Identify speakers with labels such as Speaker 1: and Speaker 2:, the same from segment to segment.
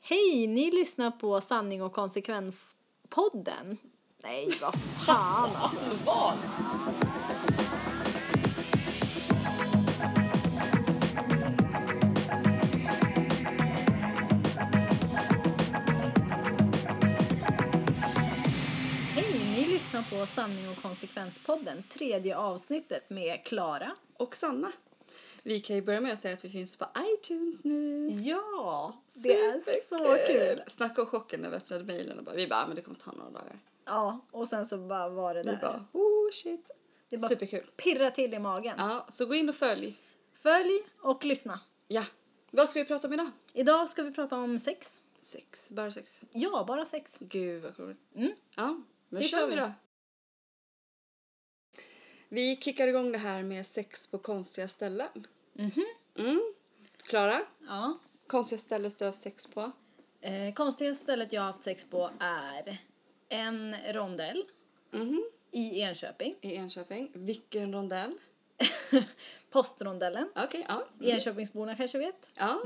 Speaker 1: Hej, ni lyssnar på Sanning och konsekvenspodden. Nej, vad fan alltså.
Speaker 2: Vad?
Speaker 1: Hej, ni lyssnar på Sanning och konsekvenspodden, tredje avsnittet med Klara.
Speaker 2: Och Sanna. Vi kan ju börja med att säga att vi finns på iTunes nu.
Speaker 1: Ja, det är så kul.
Speaker 2: Snacka och chocken när vi öppnade mejlen och bara, vi bara, "Ah, men det kommer ta några dagar.
Speaker 1: Ja, och sen så bara var det
Speaker 2: Vi
Speaker 1: där.
Speaker 2: bara, oh shit.
Speaker 1: det bara
Speaker 2: Superkul.
Speaker 1: pirra till i magen.
Speaker 2: Ja, så gå in och följ.
Speaker 1: Följ och lyssna.
Speaker 2: Ja. Vad ska vi prata om idag?
Speaker 1: Idag ska vi prata om sex.
Speaker 2: Sex. Bara sex.
Speaker 1: Ja, bara sex.
Speaker 2: Gud vad roligt.
Speaker 1: Mm.
Speaker 2: Ja, men
Speaker 1: Det
Speaker 2: kör
Speaker 1: kör
Speaker 2: vi
Speaker 1: vi.
Speaker 2: då. Vi kickar igång det här med sex på konstiga ställen.
Speaker 1: Mhm.
Speaker 2: Mm. Klara,
Speaker 1: Ja.
Speaker 2: konstiga ställen du har haft sex på?
Speaker 1: Eh, konstigaste stället jag har haft sex på är en rondell
Speaker 2: Mhm.
Speaker 1: i Enköping.
Speaker 2: I Enköping. Vilken rondell?
Speaker 1: Postrondellen.
Speaker 2: Okej, ja.
Speaker 1: Mm. Enköpingsborna kanske vet.
Speaker 2: ja.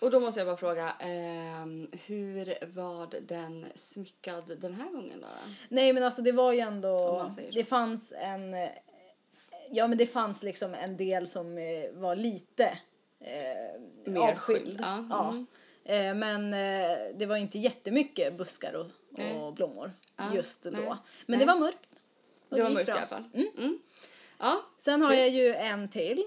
Speaker 2: Och då måste jag bara fråga, ehm, hur var den smyckad den här gången då? då?
Speaker 1: Nej men alltså det var ju
Speaker 2: Om
Speaker 1: ändå,
Speaker 2: man säger så.
Speaker 1: det fanns en, eh, ja men det fanns liksom en del som eh, var lite eh,
Speaker 2: Mer skydd, ja. Mm.
Speaker 1: Eh, men eh, det var inte jättemycket buskar och,
Speaker 2: Nej.
Speaker 1: och blommor
Speaker 2: Ja,
Speaker 1: just då.
Speaker 2: nej,
Speaker 1: Men
Speaker 2: nej.
Speaker 1: det var mörkt. Och
Speaker 2: Det var
Speaker 1: gick
Speaker 2: mörkt i
Speaker 1: bra.
Speaker 2: alla fall. Mm. Ja,
Speaker 1: Sen har
Speaker 2: Kul.
Speaker 1: jag ju en till.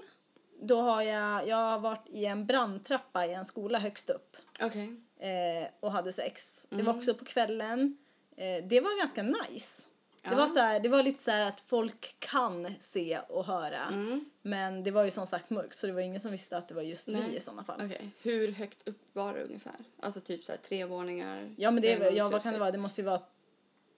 Speaker 1: Då har jag, jag har varit i en brandtrappa i en skola högst upp
Speaker 2: okej.
Speaker 1: eh, och hade sex. Det
Speaker 2: Mm.
Speaker 1: var också på kvällen. Eh, det var ganska nice. Det,
Speaker 2: Ja.
Speaker 1: var så här, det var lite så här att folk kan se och höra.
Speaker 2: Mm.
Speaker 1: Men det var ju som sagt mörkt så det var ingen som visste att det var just vi i sådana fall.
Speaker 2: Okej. Hur högt upp var det ungefär? Alltså typ så här tre våningar?
Speaker 1: Ja men det, är
Speaker 2: Eller
Speaker 1: väl- ja, vad
Speaker 2: någonstans
Speaker 1: kan det vara? Det måste ju vara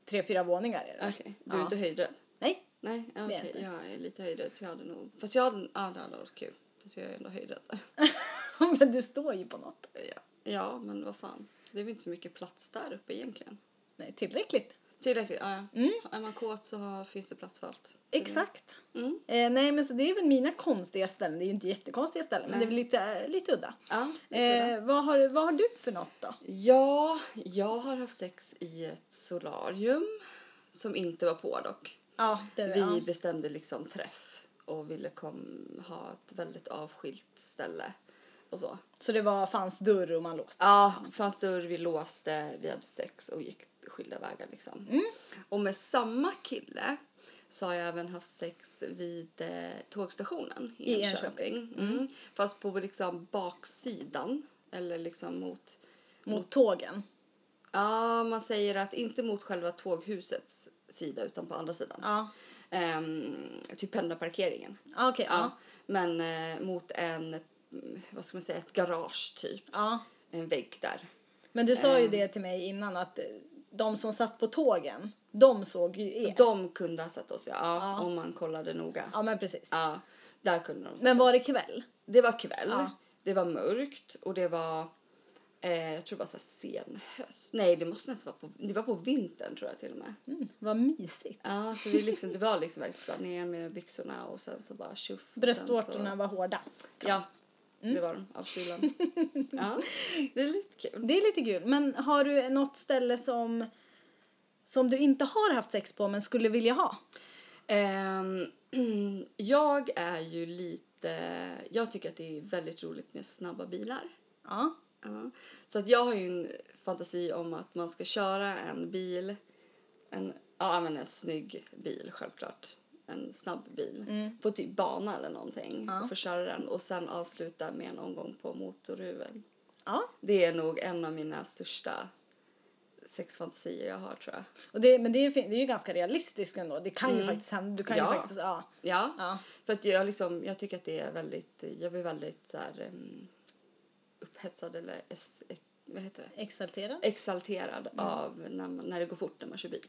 Speaker 1: tre, fyra våningar är det
Speaker 2: där?
Speaker 1: väl?
Speaker 2: Okej, du är
Speaker 1: ja.
Speaker 2: inte höjdrädd?
Speaker 1: Nej,
Speaker 2: Nej,
Speaker 1: Det
Speaker 2: ja,
Speaker 1: är
Speaker 2: okej.
Speaker 1: jag inte.
Speaker 2: Jag är lite höjdrädd så jag hade nog... Fast jag hade, ja, det hade varit kul. Fast jag är ändå höjdrädd.
Speaker 1: men du står ju på något.
Speaker 2: ja. ja, men vad fan. Det är väl inte så mycket plats där uppe egentligen.
Speaker 1: Nej, tillräckligt.
Speaker 2: Tillräckligt, ja. ja. Är man kåt så har- finns det plats för allt.
Speaker 1: Exakt.
Speaker 2: Mm.
Speaker 1: Eh, nej men så det är väl mina konstiga ställen. Det är ju inte jättekonstiga ställen men det är väl lite, eh, lite udda.
Speaker 2: Ja, lite där.
Speaker 1: Eh, vad, har, vad har du för något då?
Speaker 2: ja, jag har haft sex i ett solarium som inte var på dock.
Speaker 1: Ja, det,
Speaker 2: Vi
Speaker 1: ja.
Speaker 2: bestämde liksom träff och ville kom, ha ett väldigt avskilt ställe och så.
Speaker 1: Så det var, fanns dörr och man låste?
Speaker 2: Ja, fanns dörr, vi låste, vi hade sex och gick skilda vägar liksom. Och med samma kille så har jag även haft sex vid eh, tågstationen i,
Speaker 1: I
Speaker 2: Enköping. Mm. Fast på liksom baksidan eller liksom mot
Speaker 1: Mot tågen?
Speaker 2: Ja, man säger att inte mot själva tåghusets sida utan på andra sidan.
Speaker 1: Ja.
Speaker 2: Ehm, typ pendlarparkeringen.
Speaker 1: Ah, Okej,
Speaker 2: Ja.
Speaker 1: ja.
Speaker 2: Men eh, mot en, mm, vad ska man säga, ett garage typ.
Speaker 1: ja.
Speaker 2: En vägg där.
Speaker 1: Men du
Speaker 2: Ehm.
Speaker 1: sa ju det till mig innan att eh, de som satt på tågen, de såg ju er.
Speaker 2: De kunde ha sett oss, ja.
Speaker 1: Ja.
Speaker 2: Om man kollade noga. Ja.
Speaker 1: Ja men precis.
Speaker 2: Där kunde de sett
Speaker 1: Men var det
Speaker 2: oss.
Speaker 1: kväll?
Speaker 2: Det var kväll.
Speaker 1: Ja.
Speaker 2: Det var mörkt och det var, eh, jag tror det var så här sen höst. Nej, det måste nästan vara på, det var på vintern tror jag till och med.
Speaker 1: Mm, vad mysigt.
Speaker 2: Ja, så vi liksom, det var liksom verkligen bara ner med byxorna och sen så bara tjoff. och sen
Speaker 1: Bröstvårtorna Mm. var hårda.
Speaker 2: Så, ja, det var de av kylan. ja, det är lite kul.
Speaker 1: Det är lite kul. Men har du något ställe som, som du inte har haft sex på men skulle vilja ha?
Speaker 2: Ehm, jag är ju lite, jag tycker att det är väldigt roligt med snabba bilar.
Speaker 1: Ja.
Speaker 2: Ja. Så att jag har ju en fantasi om att man ska köra en bil, en, ja men en snygg bil självklart, en snabb bil,
Speaker 1: Mm.
Speaker 2: på typ bana eller någonting och få köra den och sen avsluta med en omgång på motorhuven.
Speaker 1: ja.
Speaker 2: Det är nog en av mina största sexfantasier jag har tror jag.
Speaker 1: Och det, men det är, fin- det är ju ganska realistiskt ändå. Det kan ju faktiskt hända. Du kan
Speaker 2: Mm. Ja.
Speaker 1: ju faktiskt, ja.
Speaker 2: Ja,
Speaker 1: Ja.
Speaker 2: för att jag, liksom, jag tycker att det är väldigt, jag blir väldigt så här, em, upphetsad eller es, ex- vad heter det?
Speaker 1: Exalterad.
Speaker 2: exalterad
Speaker 1: Mm.
Speaker 2: av när, man, när det går fort när man kör bil.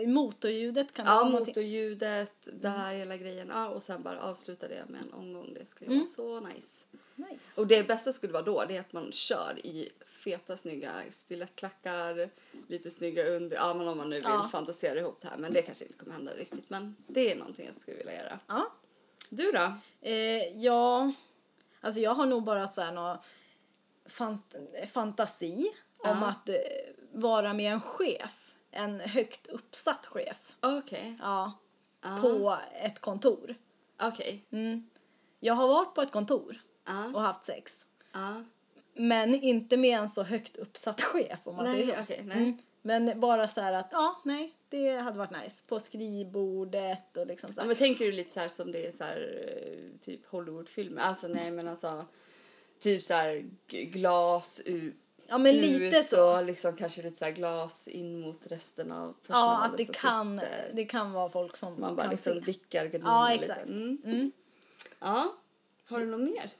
Speaker 1: Eh, Motorljudet kan
Speaker 2: Ja,
Speaker 1: vara någonting.
Speaker 2: motorljudet,
Speaker 1: Mm.
Speaker 2: det här hela grejen. Ja, och sen bara avsluta det med en omgång. Det skulle
Speaker 1: Mm.
Speaker 2: vara så nice.
Speaker 1: Nice.
Speaker 2: Och det bästa skulle vara då, det är att man kör i feta snygga stilettklackar, lite snygga under, ja men om man nu vill
Speaker 1: Ja.
Speaker 2: fantisera ihop det här. Men det kanske inte kommer hända riktigt. Men det är någonting jag skulle vilja göra.
Speaker 1: Ja.
Speaker 2: Du då?
Speaker 1: Eh, ja, alltså jag har nog bara så här nå fant fantasi om att eh, vara med en chef, en högt uppsatt chef,
Speaker 2: Okej.
Speaker 1: ja,
Speaker 2: Ah.
Speaker 1: på ett kontor.
Speaker 2: Okej.
Speaker 1: Mm. Jag har varit på ett kontor
Speaker 2: Ja.
Speaker 1: och haft sex,
Speaker 2: Ja.
Speaker 1: men inte med en så högt uppsatt chef om man säger så.
Speaker 2: Nej, okej. Nej.
Speaker 1: Mm. Men bara så här att, ja, nej, det hade varit nice. På skrivbordet och liksom så
Speaker 2: Ja,
Speaker 1: här.
Speaker 2: men tänker du lite så här som det är så här eh, typ Hollywoodfilmer? Alltså nej men alltså typ så här g- glas ut.
Speaker 1: Ja, men lite
Speaker 2: ut
Speaker 1: så.
Speaker 2: Och liksom kanske lite så här glas in mot resten av personalen.
Speaker 1: Ja, att det
Speaker 2: som
Speaker 1: kan,
Speaker 2: sitter.
Speaker 1: det kan vara folk som
Speaker 2: Man bara
Speaker 1: kan
Speaker 2: liksom
Speaker 1: se.
Speaker 2: vickar gardinerna
Speaker 1: Ja,
Speaker 2: lite.
Speaker 1: exakt.
Speaker 2: Mm.
Speaker 1: Mm.
Speaker 2: Ja. Har du något mer?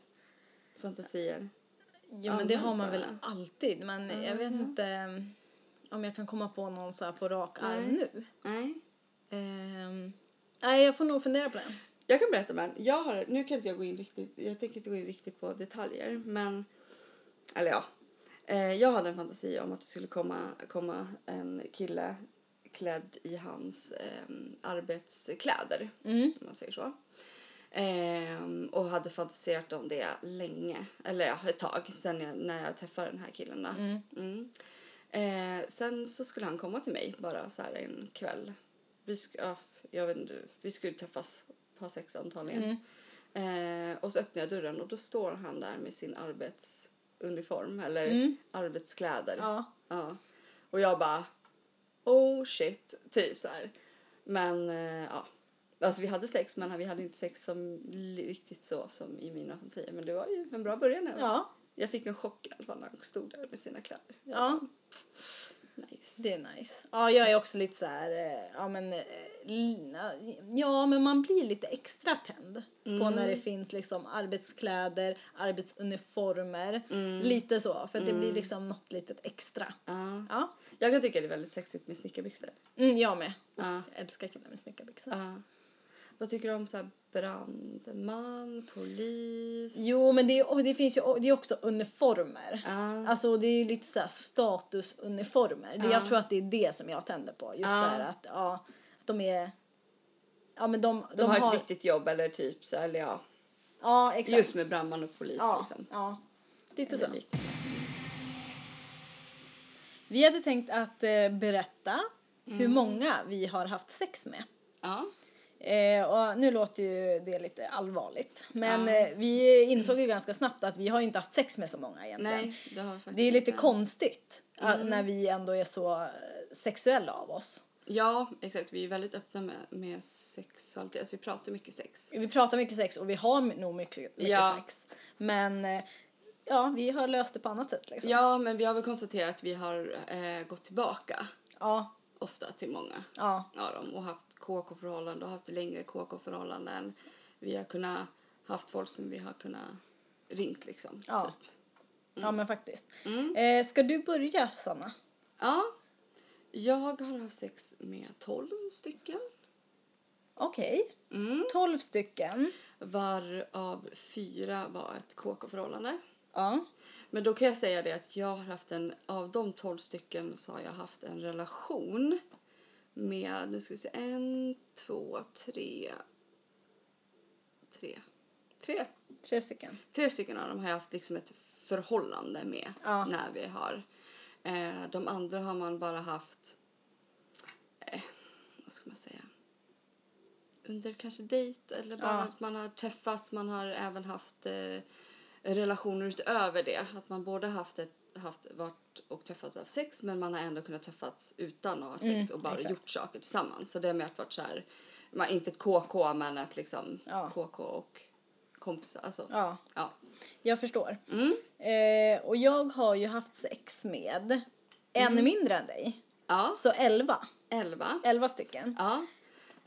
Speaker 2: Fantasier?
Speaker 1: Jo, men det har man
Speaker 2: Allmänt
Speaker 1: väl
Speaker 2: bara.
Speaker 1: alltid. Men jag vet inte eh, om jag kan komma på någon så här på rak arm
Speaker 2: Nej.
Speaker 1: nu.
Speaker 2: Nej.
Speaker 1: Ehm, nej, jag får nog fundera på den.
Speaker 2: Jag kan berätta om en. Jag har, nu kan inte jag gå in riktigt, jag tänker inte gå in riktigt på detaljer, men... Eller ja. Eh, jag hade en fantasi om att det skulle komma, komma en kille klädd i hans ehm, arbetskläder, om man säger så. Ehm, och hade fantiserat om det länge, eller ja, ett tag, sen jag, när jag träffade den här killen. Då. Mm. Eh, sen så skulle han komma till mig bara så här en kväll. Vi, sk- ja, jag vet inte, vi skulle träffas på sex antagligen. Eh, och så öppnar jag dörren och då står han där med sin arbetsuniform eller arbetskläder.
Speaker 1: Mm. Ja.
Speaker 2: Ja. Och jag bara oh shit, typ så här. Men eh, ja, alltså vi hade sex men vi hade inte sex som li- riktigt så som i mina fantasier. Men det var ju en bra början. i alla fall.
Speaker 1: Ja,
Speaker 2: Jag fick en chock i alla fall när han stod där med sina kläder. Jag
Speaker 1: ja,
Speaker 2: bara, nice.
Speaker 1: det är nice. Ja, jag är också lite så här, eh, ja men, eh, lina, ja men man blir lite extra tänd på när
Speaker 2: Mm.
Speaker 1: det finns liksom arbetskläder, arbetsuniformer, lite så. För att det blir liksom något litet extra.
Speaker 2: Mm. Ja.
Speaker 1: Ja,
Speaker 2: Jag kan tycka det är väldigt sexigt med snickarbyxor.
Speaker 1: mm, jag med.
Speaker 2: Ja.
Speaker 1: Jag älskar killar med snickarbyxor.
Speaker 2: Ja. Vad tycker du om så här brandman, polis?
Speaker 1: Jo, men det, är- och det finns ju och det är också uniformer.
Speaker 2: Ja.
Speaker 1: Alltså det är ju lite så här statusuniformer. Det,
Speaker 2: Ja.
Speaker 1: jag tror att det är det som jag tänder på. Just
Speaker 2: Ja.
Speaker 1: det här att ja, att de är... Ja, men de,
Speaker 2: De, har, ett viktigt jobb eller typ så här, eller ja.
Speaker 1: Ja, exakt.
Speaker 2: Just med brandman och polis
Speaker 1: ja,
Speaker 2: liksom.
Speaker 1: ja, lite så.
Speaker 2: Eller liknande.
Speaker 1: Vi hade tänkt att eh, berätta
Speaker 2: Mm.
Speaker 1: hur många vi har haft sex med.
Speaker 2: Ja.
Speaker 1: Eh, och nu låter ju det lite allvarligt.
Speaker 2: Ah.
Speaker 1: Men eh, vi insåg ju ganska snabbt att vi har ju inte haft sex med så många egentligen.
Speaker 2: Nej, det har vi faktiskt
Speaker 1: Det är lite
Speaker 2: inte.
Speaker 1: konstigt att-
Speaker 2: Mm.
Speaker 1: när vi ändå är så eh, sexuella av oss.
Speaker 2: Ja, exakt. Vi är väldigt öppna med, med sexualitet. Alltså vi pratar mycket sex.
Speaker 1: Vi pratar mycket sex och vi har my- nog mycket, mycket
Speaker 2: Ja.
Speaker 1: sex. Men eh, ja, vi har löst det på annat sätt. Liksom.
Speaker 2: Ja, men vi har väl konstaterat att vi har eh, gått tillbaka
Speaker 1: ja,
Speaker 2: ofta till många.
Speaker 1: ja,
Speaker 2: av dem och haft KK-förhållanden och haft längre KK-förhållanden. Vi har kunnat haft folk som vi har kunnat ringt liksom.
Speaker 1: Ja.
Speaker 2: Typ. Mm.
Speaker 1: ja, men faktiskt. Eh, ska du börja, Sanna?
Speaker 2: ja. Jag har haft sex med 12 stycken.
Speaker 1: Okej,
Speaker 2: Mm.
Speaker 1: 12 stycken.
Speaker 2: Varav fyra var ett KK-förhållande.
Speaker 1: Ja.
Speaker 2: Men då kan jag säga det att jag har haft en, av de 12 stycken så har jag haft en relation med, nu ska vi se, en, två, tre, tre, tre
Speaker 1: Tre stycken.
Speaker 2: Tre stycken av dem har jag haft liksom ett förhållande med
Speaker 1: Ja.
Speaker 2: när vi har. Eh, de andra har man bara haft, eh, vad ska man säga, under kanske dejt eller bara
Speaker 1: Ja.
Speaker 2: att man har träffats. Man har även haft eh, relationer utöver det. Att man både haft ett haft varit och träffats av sex men man har ändå kunnat träffats utan att ha sex och bara
Speaker 1: Mm, exakt.
Speaker 2: gjort saker tillsammans. Så det har mer varit så här, man, inte ett KK men ett liksom
Speaker 1: Ja.
Speaker 2: KK och kompisar. Alltså,
Speaker 1: Ja,
Speaker 2: Ja.
Speaker 1: jag förstår.
Speaker 2: Mm.
Speaker 1: Eh, och jag har ju haft sex med en
Speaker 2: Mm.
Speaker 1: mindre än dig.
Speaker 2: Ja,
Speaker 1: Så 11.
Speaker 2: 11.
Speaker 1: 11 stycken.
Speaker 2: Ja.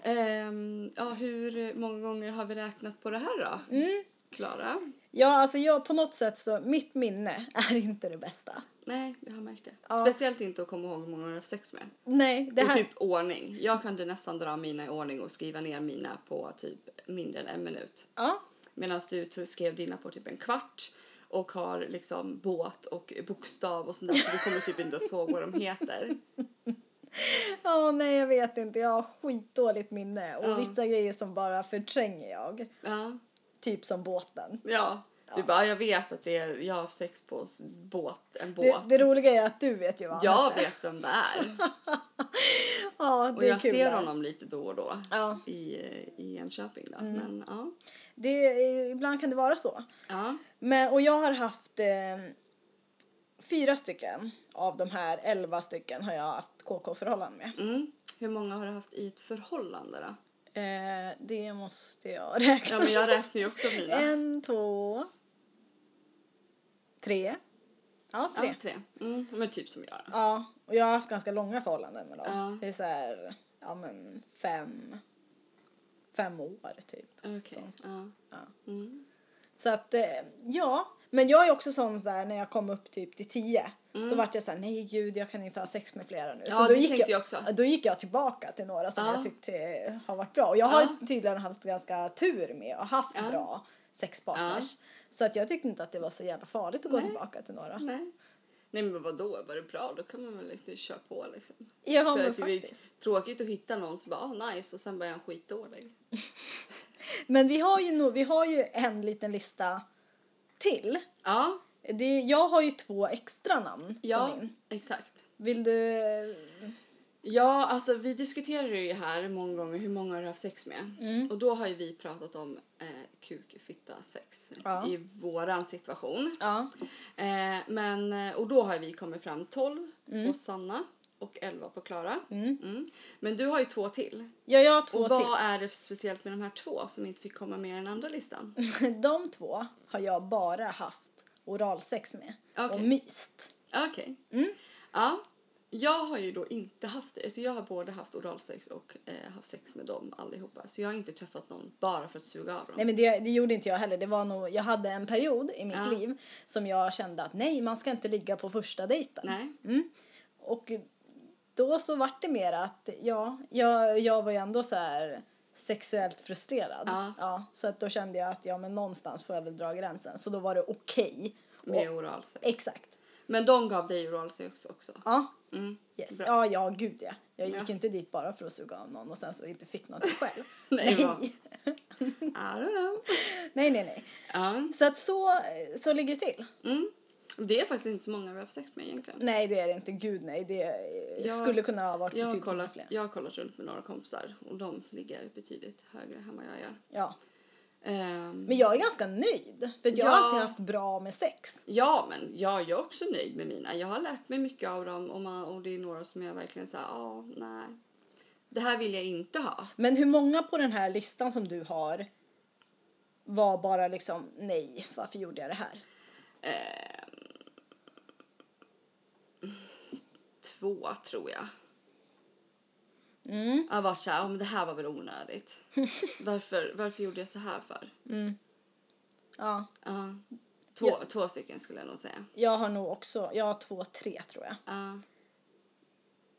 Speaker 2: Ehm, ja, hur många gånger har vi räknat på det här då?
Speaker 1: Mm.
Speaker 2: Klara?
Speaker 1: Ja, alltså jag på något sätt så, mitt minne är inte det bästa.
Speaker 2: Nej, jag har märkt det.
Speaker 1: Ja.
Speaker 2: Speciellt inte att komma ihåg hur många jag har haft sex med.
Speaker 1: Nej, det
Speaker 2: Och
Speaker 1: här...
Speaker 2: typ ordning. Jag kunde nästan dra mina i ordning och skriva ner mina på typ mindre än en minut.
Speaker 1: Ja,
Speaker 2: Medan du tog- skrev dina på typ en kvart och har liksom båt och bokstav och sånt där. Så du kommer typ inte att såg vad de heter.
Speaker 1: ja nej jag vet inte. Jag har skitdåligt minne och
Speaker 2: Ja.
Speaker 1: vissa grejer som bara förtränger jag.
Speaker 2: Ja,
Speaker 1: Typ som båten.
Speaker 2: ja. Du bara, jag vet att det är, jag har haft sex på s- båt, en
Speaker 1: Det,
Speaker 2: båt.
Speaker 1: det roliga är att du vet ju vad han
Speaker 2: jag
Speaker 1: heter.
Speaker 2: vet vem det är.
Speaker 1: Ja,
Speaker 2: Och
Speaker 1: det är
Speaker 2: jag
Speaker 1: kul.
Speaker 2: ser
Speaker 1: där.
Speaker 2: honom lite då och då
Speaker 1: Ja. Mm.
Speaker 2: i, i Enköping. Då. Men ja.
Speaker 1: Det, är- ibland kan det vara så.
Speaker 2: ja.
Speaker 1: Men, och jag har haft eh, fyra stycken av de här elva stycken har jag haft KK-förhållanden med.
Speaker 2: Mm. Hur många har du haft i ett förhållande då?
Speaker 1: Eh, det måste jag räkna.
Speaker 2: Ja men jag räknar ju också mina.
Speaker 1: En, två, tre. Ja, tre.
Speaker 2: Ja, tre. Mm. Men typ som jag då.
Speaker 1: Ja, och jag har haft ganska långa förhållanden med dem.
Speaker 2: Ja.
Speaker 1: Det är så här, ja men fem, fem år typ.
Speaker 2: Okej. Ja.
Speaker 1: Ja.
Speaker 2: Mm.
Speaker 1: Så att, eh, ja. Men jag är också sån så här, när jag kom upp typ till tio. Då vart jag så här, nej gud jag kan inte ha sex med flera nu.
Speaker 2: Mm. Ja,
Speaker 1: så då
Speaker 2: det
Speaker 1: gick
Speaker 2: tänkte jag också.
Speaker 1: ja, Då gick jag tillbaka till några som
Speaker 2: Ja.
Speaker 1: jag tyckte eh, har varit bra. Och jag har
Speaker 2: Ja.
Speaker 1: tydligen haft ganska tur med och haft
Speaker 2: Ja.
Speaker 1: bra sexpartners. Så att jag tyckte inte att det var så jävla farligt att gå tillbaka till några.
Speaker 2: Nej. Nej men vadå, var det bra då kan man väl lite köra på liksom.
Speaker 1: Ja,
Speaker 2: Så
Speaker 1: men
Speaker 2: att det är
Speaker 1: faktiskt.
Speaker 2: tråkigt att hitta någon som bara ah, nice och sen bara är han skitdålig.
Speaker 1: Men vi har ju, nog- vi har ju en liten lista till.
Speaker 2: Ja,
Speaker 1: Det, jag har ju två extra namn på
Speaker 2: ja
Speaker 1: min.
Speaker 2: exakt.
Speaker 1: Vill du...
Speaker 2: Ja, alltså vi diskuterar ju här många gånger hur många har du haft sex med.
Speaker 1: Mm.
Speaker 2: Och då har ju vi pratat om eh, kuk, fitta, sex
Speaker 1: Ja.
Speaker 2: i våran situation.
Speaker 1: Ja.
Speaker 2: Eh, men, eh, och då har vi kommit fram 12
Speaker 1: Mm.
Speaker 2: på Sanna och 11 på Klara. Mm. Men du har ju två till.
Speaker 1: Ja, jag har två
Speaker 2: Och vad
Speaker 1: till.
Speaker 2: är det speciellt med de här två som inte fick komma med i den andra listan?
Speaker 1: De två har jag bara haft oralsex med och
Speaker 2: Okej.
Speaker 1: myst.
Speaker 2: Okej.
Speaker 1: Mm.
Speaker 2: Ja. Jag har ju då inte haft det. Alltså jag har både haft oralsex och eh, haft sex med dem allihopa. Så jag har inte träffat någon bara för att suga av dem.
Speaker 1: Nej men det, det gjorde inte jag heller. Det var nog, jag hade en period i mitt
Speaker 2: Ja.
Speaker 1: liv som jag kände att nej, man ska inte ligga på första dejten.
Speaker 2: Nej.
Speaker 1: Och då så vart det mer att ja, jag, jag var ju ändå så här sexuellt frustrerad.
Speaker 2: Ja.
Speaker 1: så att då kände jag att ja, men någonstans får jag väl dra gränsen. Så då var det okej.
Speaker 2: Med
Speaker 1: Och-
Speaker 2: oralsex.
Speaker 1: Exakt.
Speaker 2: Men de gav dig oralsex också.
Speaker 1: Ja.
Speaker 2: Mm.
Speaker 1: Yes.
Speaker 2: Bra.
Speaker 1: Ja, ja, gud ja. Jag gick
Speaker 2: Ja.
Speaker 1: ju inte dit bara för att suga av någon och sen så inte fick något själv.
Speaker 2: Nej,
Speaker 1: nej.
Speaker 2: vad- I don't know.
Speaker 1: nej, nej, nej.
Speaker 2: Ja.
Speaker 1: Så att så, så ligger det till.
Speaker 2: Mm. Det är faktiskt inte så många vi har haft sex med egentligen.
Speaker 1: Nej, det är det inte. Gud nej. Det eh,
Speaker 2: Jag-
Speaker 1: skulle kunna ha varit
Speaker 2: Jag har,
Speaker 1: betydligt
Speaker 2: kollat,
Speaker 1: typ fler.
Speaker 2: jag har kollat runt med några kompisar och de ligger betydligt högre än vad jag gör.
Speaker 1: Ja.
Speaker 2: Ehm,
Speaker 1: Men jag är ganska nöjd. För att jag har
Speaker 2: Ja.
Speaker 1: alltid haft bra med sex.
Speaker 2: Ja, men jag, jag är också nöjd med mina. Jag har lärt mig mycket av dem och, man, och det är några som jag verkligen säger, ja, nej. Det här vill jag inte ha.
Speaker 1: Men hur många på den här listan som du har var bara liksom nej, varför gjorde jag det här?
Speaker 2: Två tror jag.
Speaker 1: Mm.
Speaker 2: Jag har varit så här, ja, men det här var väl onödigt. varför, varför gjorde jag så här för?
Speaker 1: Ja,
Speaker 2: Ja. två, två stycken skulle jag nog säga.
Speaker 1: jag har nog också, jag har två, tre tror jag.
Speaker 2: Ja.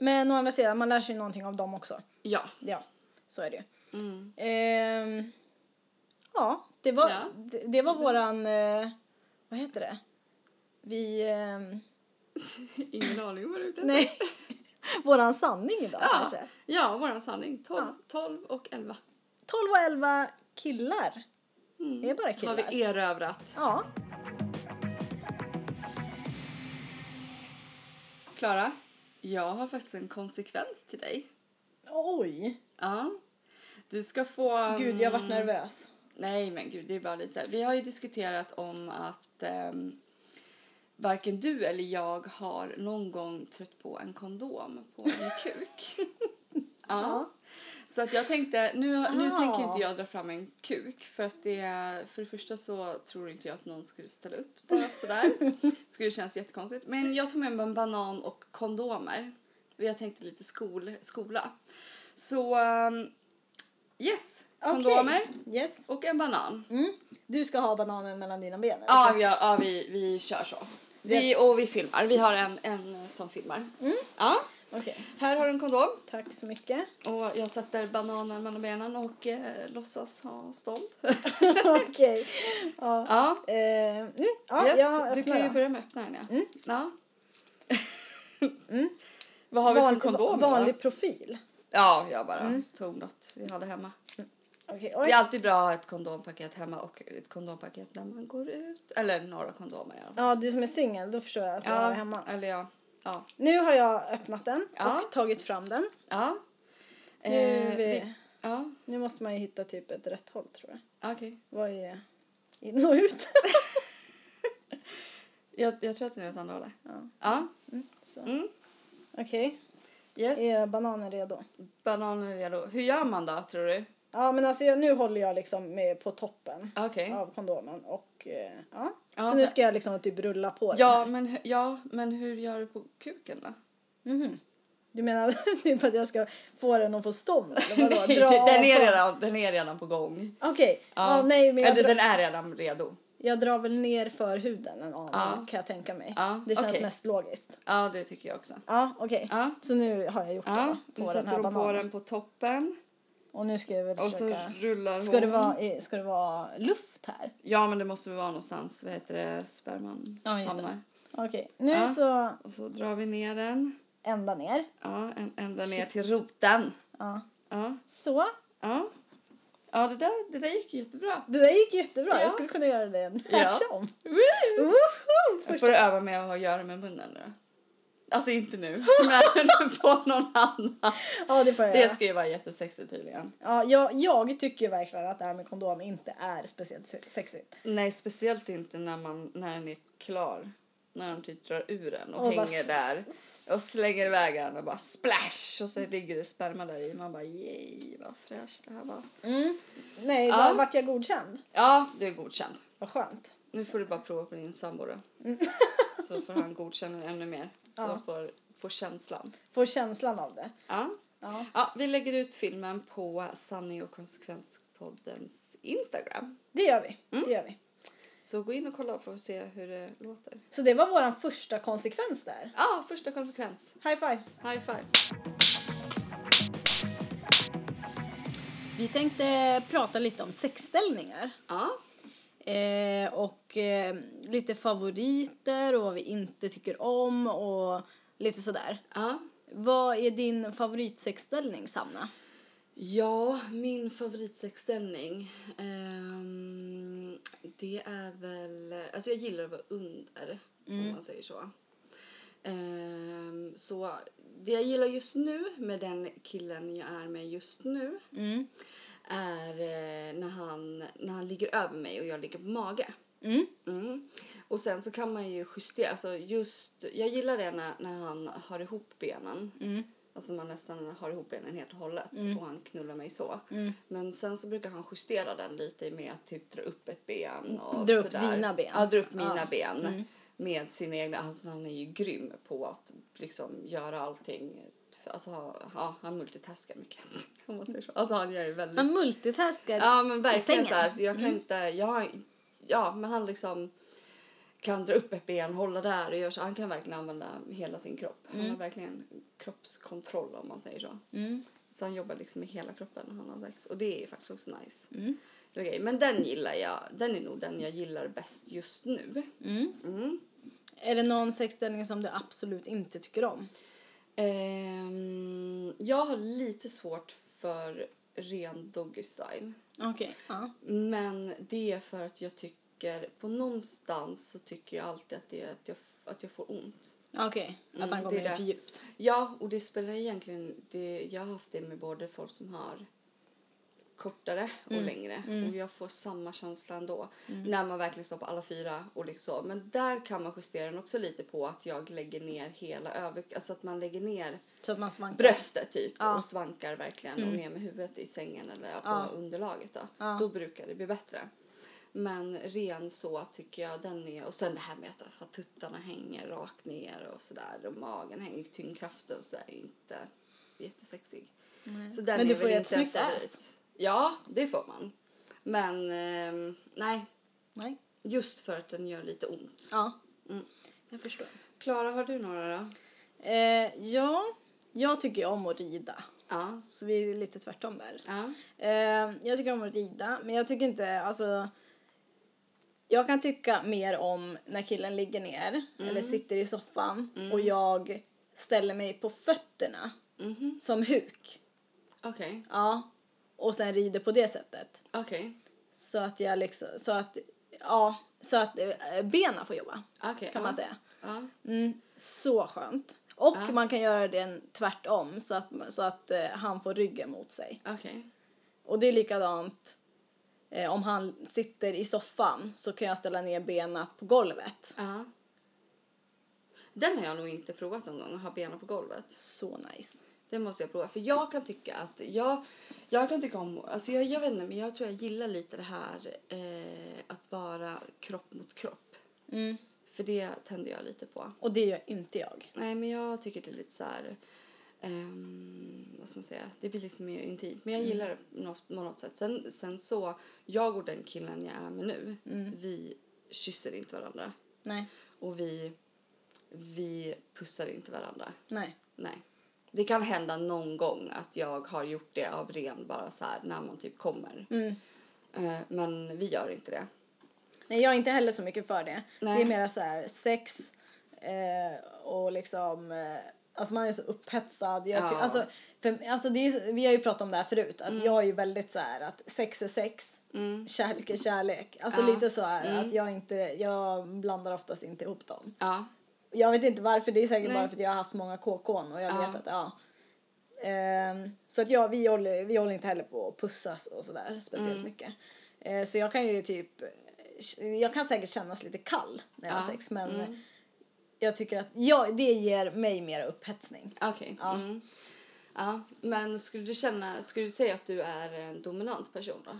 Speaker 1: Men å andra sidan, man lär sig någonting av dem också.
Speaker 2: ja.
Speaker 1: Ja, så är det ju.
Speaker 2: Mm.
Speaker 1: Ehm, ja, det var,
Speaker 2: Ja.
Speaker 1: Det, det var våran, eh, vad heter det? Vi, ehm,
Speaker 2: Ingen aning vad det är.
Speaker 1: nej, våran sanning idag
Speaker 2: Ja,
Speaker 1: kanske.
Speaker 2: ja vår sanning. 12,
Speaker 1: Ja.
Speaker 2: 12 och 11.
Speaker 1: 12 och 11 killar. Det är bara killar.
Speaker 2: Mm. Har vi erövrat.
Speaker 1: Ja.
Speaker 2: Klara, jag har faktiskt en konsekvens till dig.
Speaker 1: Oj,
Speaker 2: Ja. Du ska få...
Speaker 1: gud jag
Speaker 2: Mm.
Speaker 1: varit nervös.
Speaker 2: Nej, men gud, det är bara lite så här. Vi har ju diskuterat om att ehm, varken du eller jag har någon gång trött på en kondom på en kuk. ja. Så att jag tänkte, nu, nu
Speaker 1: Ah.
Speaker 2: tänker inte jag dra fram en kuk för att det, för det första så tror inte jag att någon skulle ställa upp bara sådär. skulle kännas jättekonstigt. Men jag tog med mig en banan och kondomer. Jag tänkte lite skol, skola. Så ehm, yes, kondomer.
Speaker 1: Okej. Yes.
Speaker 2: Och en banan.
Speaker 1: Mm. Du ska ha bananen mellan dina ben? eller?
Speaker 2: Ja, vi, ja vi, vi kör så. Vi, och vi filmar. Vi har en, en som filmar.
Speaker 1: Mm.
Speaker 2: Ja.
Speaker 1: Okej.
Speaker 2: Här har du en kondom.
Speaker 1: Tack så mycket.
Speaker 2: Och jag sätter bananen mellan benen och eh, låtsas ha stånd.
Speaker 1: Okej. Ja.
Speaker 2: ja.
Speaker 1: Eh, mm, ja,
Speaker 2: yes.
Speaker 1: jag
Speaker 2: du
Speaker 1: öppnar
Speaker 2: kan ju
Speaker 1: då.
Speaker 2: börja med att öppna den. Ja.
Speaker 1: Mm.
Speaker 2: ja. Vad har vi
Speaker 1: Vanlig-
Speaker 2: för kondom? då?
Speaker 1: Mm. Vanlig profil.
Speaker 2: Ja, jag bara tog något vi hade hemma.
Speaker 1: Okej,
Speaker 2: Det
Speaker 1: oj.
Speaker 2: är alltid bra att ha ett kondompaket hemma och ett kondompaket när man går ut. Eller några kondomer i alla fall.
Speaker 1: Ja, du som är singel, då förstår jag att du har det hemma.
Speaker 2: eller ja. Ja.
Speaker 1: Nu har jag öppnat den
Speaker 2: Ja.
Speaker 1: och tagit fram den.
Speaker 2: Ja. Eh,
Speaker 1: Nu, är vi,
Speaker 2: ja,
Speaker 1: nu måste man ju hitta typ ett rätt håll tror jag.
Speaker 2: okej.
Speaker 1: Vad är in och ut?
Speaker 2: Jag, jag tror att den är åt andra hållet.
Speaker 1: Ja.
Speaker 2: Ja.
Speaker 1: Så.
Speaker 2: Mm.
Speaker 1: Okej,
Speaker 2: Yes.
Speaker 1: är bananen redo?
Speaker 2: Bananen är redo. Hur gör man då, tror du?
Speaker 1: Ja, men alltså jag, nu håller jag liksom med på toppen
Speaker 2: Okej.
Speaker 1: av kondomen och eh, ja.
Speaker 2: Ja,
Speaker 1: Så nu
Speaker 2: men-
Speaker 1: ska jag liksom typ rulla på den.
Speaker 2: Ja, men, hu- ja, men hur gör du på kuken då?
Speaker 1: Mhm. Du menar typ att jag ska få den att få stånd? Eller vadå?
Speaker 2: den,
Speaker 1: Dra av
Speaker 2: är
Speaker 1: dem?
Speaker 2: redan, den är redan på gång.
Speaker 1: Okej, ja. nej men jag,
Speaker 2: Eller
Speaker 1: drar-
Speaker 2: den är redan redo.
Speaker 1: jag drar väl ner för huden en aning
Speaker 2: Ja.
Speaker 1: kan jag tänka mig.
Speaker 2: Ja,
Speaker 1: Det känns
Speaker 2: okej.
Speaker 1: mest logiskt.
Speaker 2: Ja, det tycker jag också.
Speaker 1: Ja, okej.
Speaker 2: Ja.
Speaker 1: Så nu har jag gjort
Speaker 2: Ja,
Speaker 1: det
Speaker 2: nu
Speaker 1: då, på den
Speaker 2: sätter
Speaker 1: här
Speaker 2: hon på
Speaker 1: bananen.
Speaker 2: den på toppen
Speaker 1: Och nu ska jag väl
Speaker 2: och så
Speaker 1: försöka...
Speaker 2: rullar
Speaker 1: Ska
Speaker 2: hon.
Speaker 1: det, vara, i- ska det vara luft här?
Speaker 2: Ja, men det måste väl vara någonstans, vad heter det, sperman
Speaker 1: Ja, just det.
Speaker 2: hamnar.
Speaker 1: Okej, nu
Speaker 2: Ja.
Speaker 1: så
Speaker 2: Och så drar vi ner den.
Speaker 1: ända ner.
Speaker 2: Ja, en, ända ner till roten.
Speaker 1: Ja.
Speaker 2: Ja,
Speaker 1: Så.
Speaker 2: ja. Ja, det där, det där gick jättebra.
Speaker 1: Det där gick jättebra.
Speaker 2: Ja.
Speaker 1: Jag skulle kunna göra det en
Speaker 2: Ja.
Speaker 1: härsom.
Speaker 2: Jag får du öva med att göra med munnen nu då. Alltså inte nu, men på någon annan.
Speaker 1: Ja, det får jag
Speaker 2: Det
Speaker 1: göra.
Speaker 2: ska ju vara jättesexigt tydligen.
Speaker 1: Ja, jag, jag tycker verkligen att det här med kondom inte är speciellt se- sexigt.
Speaker 2: Nej, speciellt inte när, man, när den är klar. När de typ drar ur den och
Speaker 1: Och bara
Speaker 2: hänger där. Och slänger iväg den och bara splash! Och så ligger det sperma där i. Man bara yay vad fräscht det här var.
Speaker 1: Nej,
Speaker 2: Ja.
Speaker 1: var, vart jag godkänd?
Speaker 2: Ja, du är godkänd.
Speaker 1: Vad skönt.
Speaker 2: Nu får du bara prova på din sambo då. Så får han godkänna den ännu mer. Så
Speaker 1: Mm. Ja.
Speaker 2: får, får känslan.
Speaker 1: Får känslan av det.
Speaker 2: Ja.
Speaker 1: Ja.
Speaker 2: ja, vi lägger ut filmen på Sanning och konsekvenspoddens Instagram.
Speaker 1: Det gör vi.
Speaker 2: Mm.
Speaker 1: Det gör vi.
Speaker 2: Så gå in och kolla för att se hur det låter.
Speaker 1: Så det var vår första konsekvens där.
Speaker 2: Ja, första konsekvens.
Speaker 1: High five!
Speaker 2: High five.
Speaker 1: Vi tänkte prata lite om sexställningar.
Speaker 2: Ja.
Speaker 1: Eh, och eh, lite favoriter och vad vi inte tycker om och lite sådär.
Speaker 2: Ja.
Speaker 1: Vad är din favoritsexställning, Sanna?
Speaker 2: Ja, min favoritsexställning. ehm, det är väl... Alltså jag gillar att vara under, om man säger så. Ehm, så det jag gillar just nu med den killen jag är med just nu är eh, när, han, när han ligger över mig och jag ligger på mage.
Speaker 1: Mm.
Speaker 2: Mm. Och sen så kan man ju justera. Alltså just, jag gillar det när, när han har ihop benen.
Speaker 1: Mm.
Speaker 2: Alltså man nästan har ihop benen helt och hållet och han knullar mig så.
Speaker 1: Mm.
Speaker 2: Men sen så brukar han justera den lite med att typ dra upp ett ben och
Speaker 1: Mm. Dra upp
Speaker 2: sådär.
Speaker 1: dina ben. Mm.
Speaker 2: Ja, dra upp mina ben. Med sina egna, alltså han är ju grym på att liksom göra allting. Alltså ja, han multitaskar mycket. Om man säger så. Alltså han gör ju väldigt
Speaker 1: Han multitaskar
Speaker 2: Ja men verkligen
Speaker 1: i
Speaker 2: så
Speaker 1: sängen. Mm.
Speaker 2: här. Jag kan inte, jag, ja men han liksom kan dra upp ett ben, hålla där och gör så. Han kan verkligen använda hela sin kropp.
Speaker 1: Mm.
Speaker 2: Han har verkligen kroppskontroll om man säger så. Så han jobbar liksom med hela kroppen när han har sex. Och det är faktiskt också nice.
Speaker 1: Mm.
Speaker 2: Okej, men den gillar jag. Den är nog den jag gillar bäst just nu. Mm.
Speaker 1: Är det någon sexställning som du absolut inte tycker om?
Speaker 2: Ehm, jag har lite svårt för ren doggy style.
Speaker 1: Okej. Ja.
Speaker 2: Men det är för att jag tycker, på någonstans så tycker jag alltid att, det är att, jag, att jag får ont.
Speaker 1: Okej, att han
Speaker 2: Mm,
Speaker 1: går
Speaker 2: det är
Speaker 1: in
Speaker 2: det.
Speaker 1: för djupt.
Speaker 2: Ja, och det spelar egentligen, det, jag har haft det med både folk som har kortare och
Speaker 1: Mm,
Speaker 2: längre och jag får samma känsla ändå när man verkligen står på alla fyra och liksom. Men där kan man justera den också lite på att jag lägger ner hela över, alltså att man lägger ner
Speaker 1: Så att man svankar.
Speaker 2: bröstet typ
Speaker 1: Ja. Mm.
Speaker 2: och svankar verkligen och ner med huvudet i sängen eller på
Speaker 1: Ja.
Speaker 2: underlaget då.
Speaker 1: Ja.
Speaker 2: Då brukar det bli bättre. Men ren så tycker jag den är och sen det här med att- att tuttarna hänger rakt ner och sådär och magen hänger tyngdkraften så är ju inte jättesexig. Så den
Speaker 1: Men du
Speaker 2: är
Speaker 1: får
Speaker 2: väl
Speaker 1: ju ett
Speaker 2: inte en
Speaker 1: snyggt ass.
Speaker 2: favorit. Ja, det får man. Men ehm, nej,
Speaker 1: Nej.
Speaker 2: just för att den gör lite ont.
Speaker 1: Ja.
Speaker 2: Mm.
Speaker 1: Jag förstår.
Speaker 2: Klara, har du några då?
Speaker 1: Eh, ja, jag tycker ju om att rida.
Speaker 2: Ja.
Speaker 1: Så vi är lite tvärtom där.
Speaker 2: Ja.
Speaker 1: Eh, jag tycker om att rida, men jag tycker inte, alltså... Jag kan tycka mer om när killen ligger ner eller sitter i soffan och jag ställer mig på fötterna
Speaker 2: Mhm.
Speaker 1: som huk.
Speaker 2: Okej.
Speaker 1: Ja. och sen rider på det sättet.
Speaker 2: Okej.
Speaker 1: Så att jag liksom, så att, ja, så att eh, benen får jobba
Speaker 2: Okej,
Speaker 1: kan
Speaker 2: ja.
Speaker 1: man säga.
Speaker 2: Ja.
Speaker 1: Mm, så skönt. Och man kan göra den tvärtom så att, så att eh, han får ryggen mot sig.
Speaker 2: Okej.
Speaker 1: Och det är likadant eh, om han sitter i soffan så kan jag ställa ner benen på golvet.
Speaker 2: Ja. Den har jag nog inte provat någon gång, att ha benen på golvet.
Speaker 1: Så nice.
Speaker 2: Det måste jag prova. För jag kan tycka att jag, jag kan tycka om, alltså jag, jag vet inte, men jag tror jag gillar lite det här eh, att vara kropp mot kropp. För det tänder jag lite på.
Speaker 1: Och det gör inte jag.
Speaker 2: Nej, men jag tycker det är lite så här... ehm, vad ska man säga? Det blir liksom mer intimt. Men jag gillar det något, på något sätt. Sen, sen så, jag och den killen jag är med nu, vi kysser inte varandra.
Speaker 1: Nej,
Speaker 2: Och vi, vi pussar inte varandra.
Speaker 1: nej.
Speaker 2: Nej. Det kan hända någon gång att jag har gjort det av ren bara så här när man typ kommer. Eh, men vi gör inte det.
Speaker 1: Nej, jag är inte heller så mycket för det.
Speaker 2: Nej.
Speaker 1: Det är mera så här sex eh, och liksom... Eh, alltså man är så upphetsad. Jag ty-
Speaker 2: Ja. Mm.
Speaker 1: alltså, för, alltså det är, ju- vi har ju pratat om det här förut, att jag är ju väldigt så här att sex är sex, kärlek är kärlek. Alltså
Speaker 2: Ja. Mm.
Speaker 1: lite så här att jag inte, jag blandar oftast inte ihop dem.
Speaker 2: Ja.
Speaker 1: Jag vet inte varför, det är säkert
Speaker 2: Nej.
Speaker 1: bara för att jag har haft många KK'n och jag
Speaker 2: Ja.
Speaker 1: vet att, ja. Ehm, så att ja, vi håller, vi håller inte heller på att pussas och sådär speciellt
Speaker 2: Mm.
Speaker 1: mycket. Eh, så jag kan ju typ, jag kan säkert kännas lite kall när jag har
Speaker 2: Ja. Mm.
Speaker 1: sex men jag tycker att, ja, det ger mig mer upphetsning.
Speaker 2: Okej.
Speaker 1: Ja.
Speaker 2: Mm. Ja, men skulle du känna, skulle du säga att du är en dominant person då?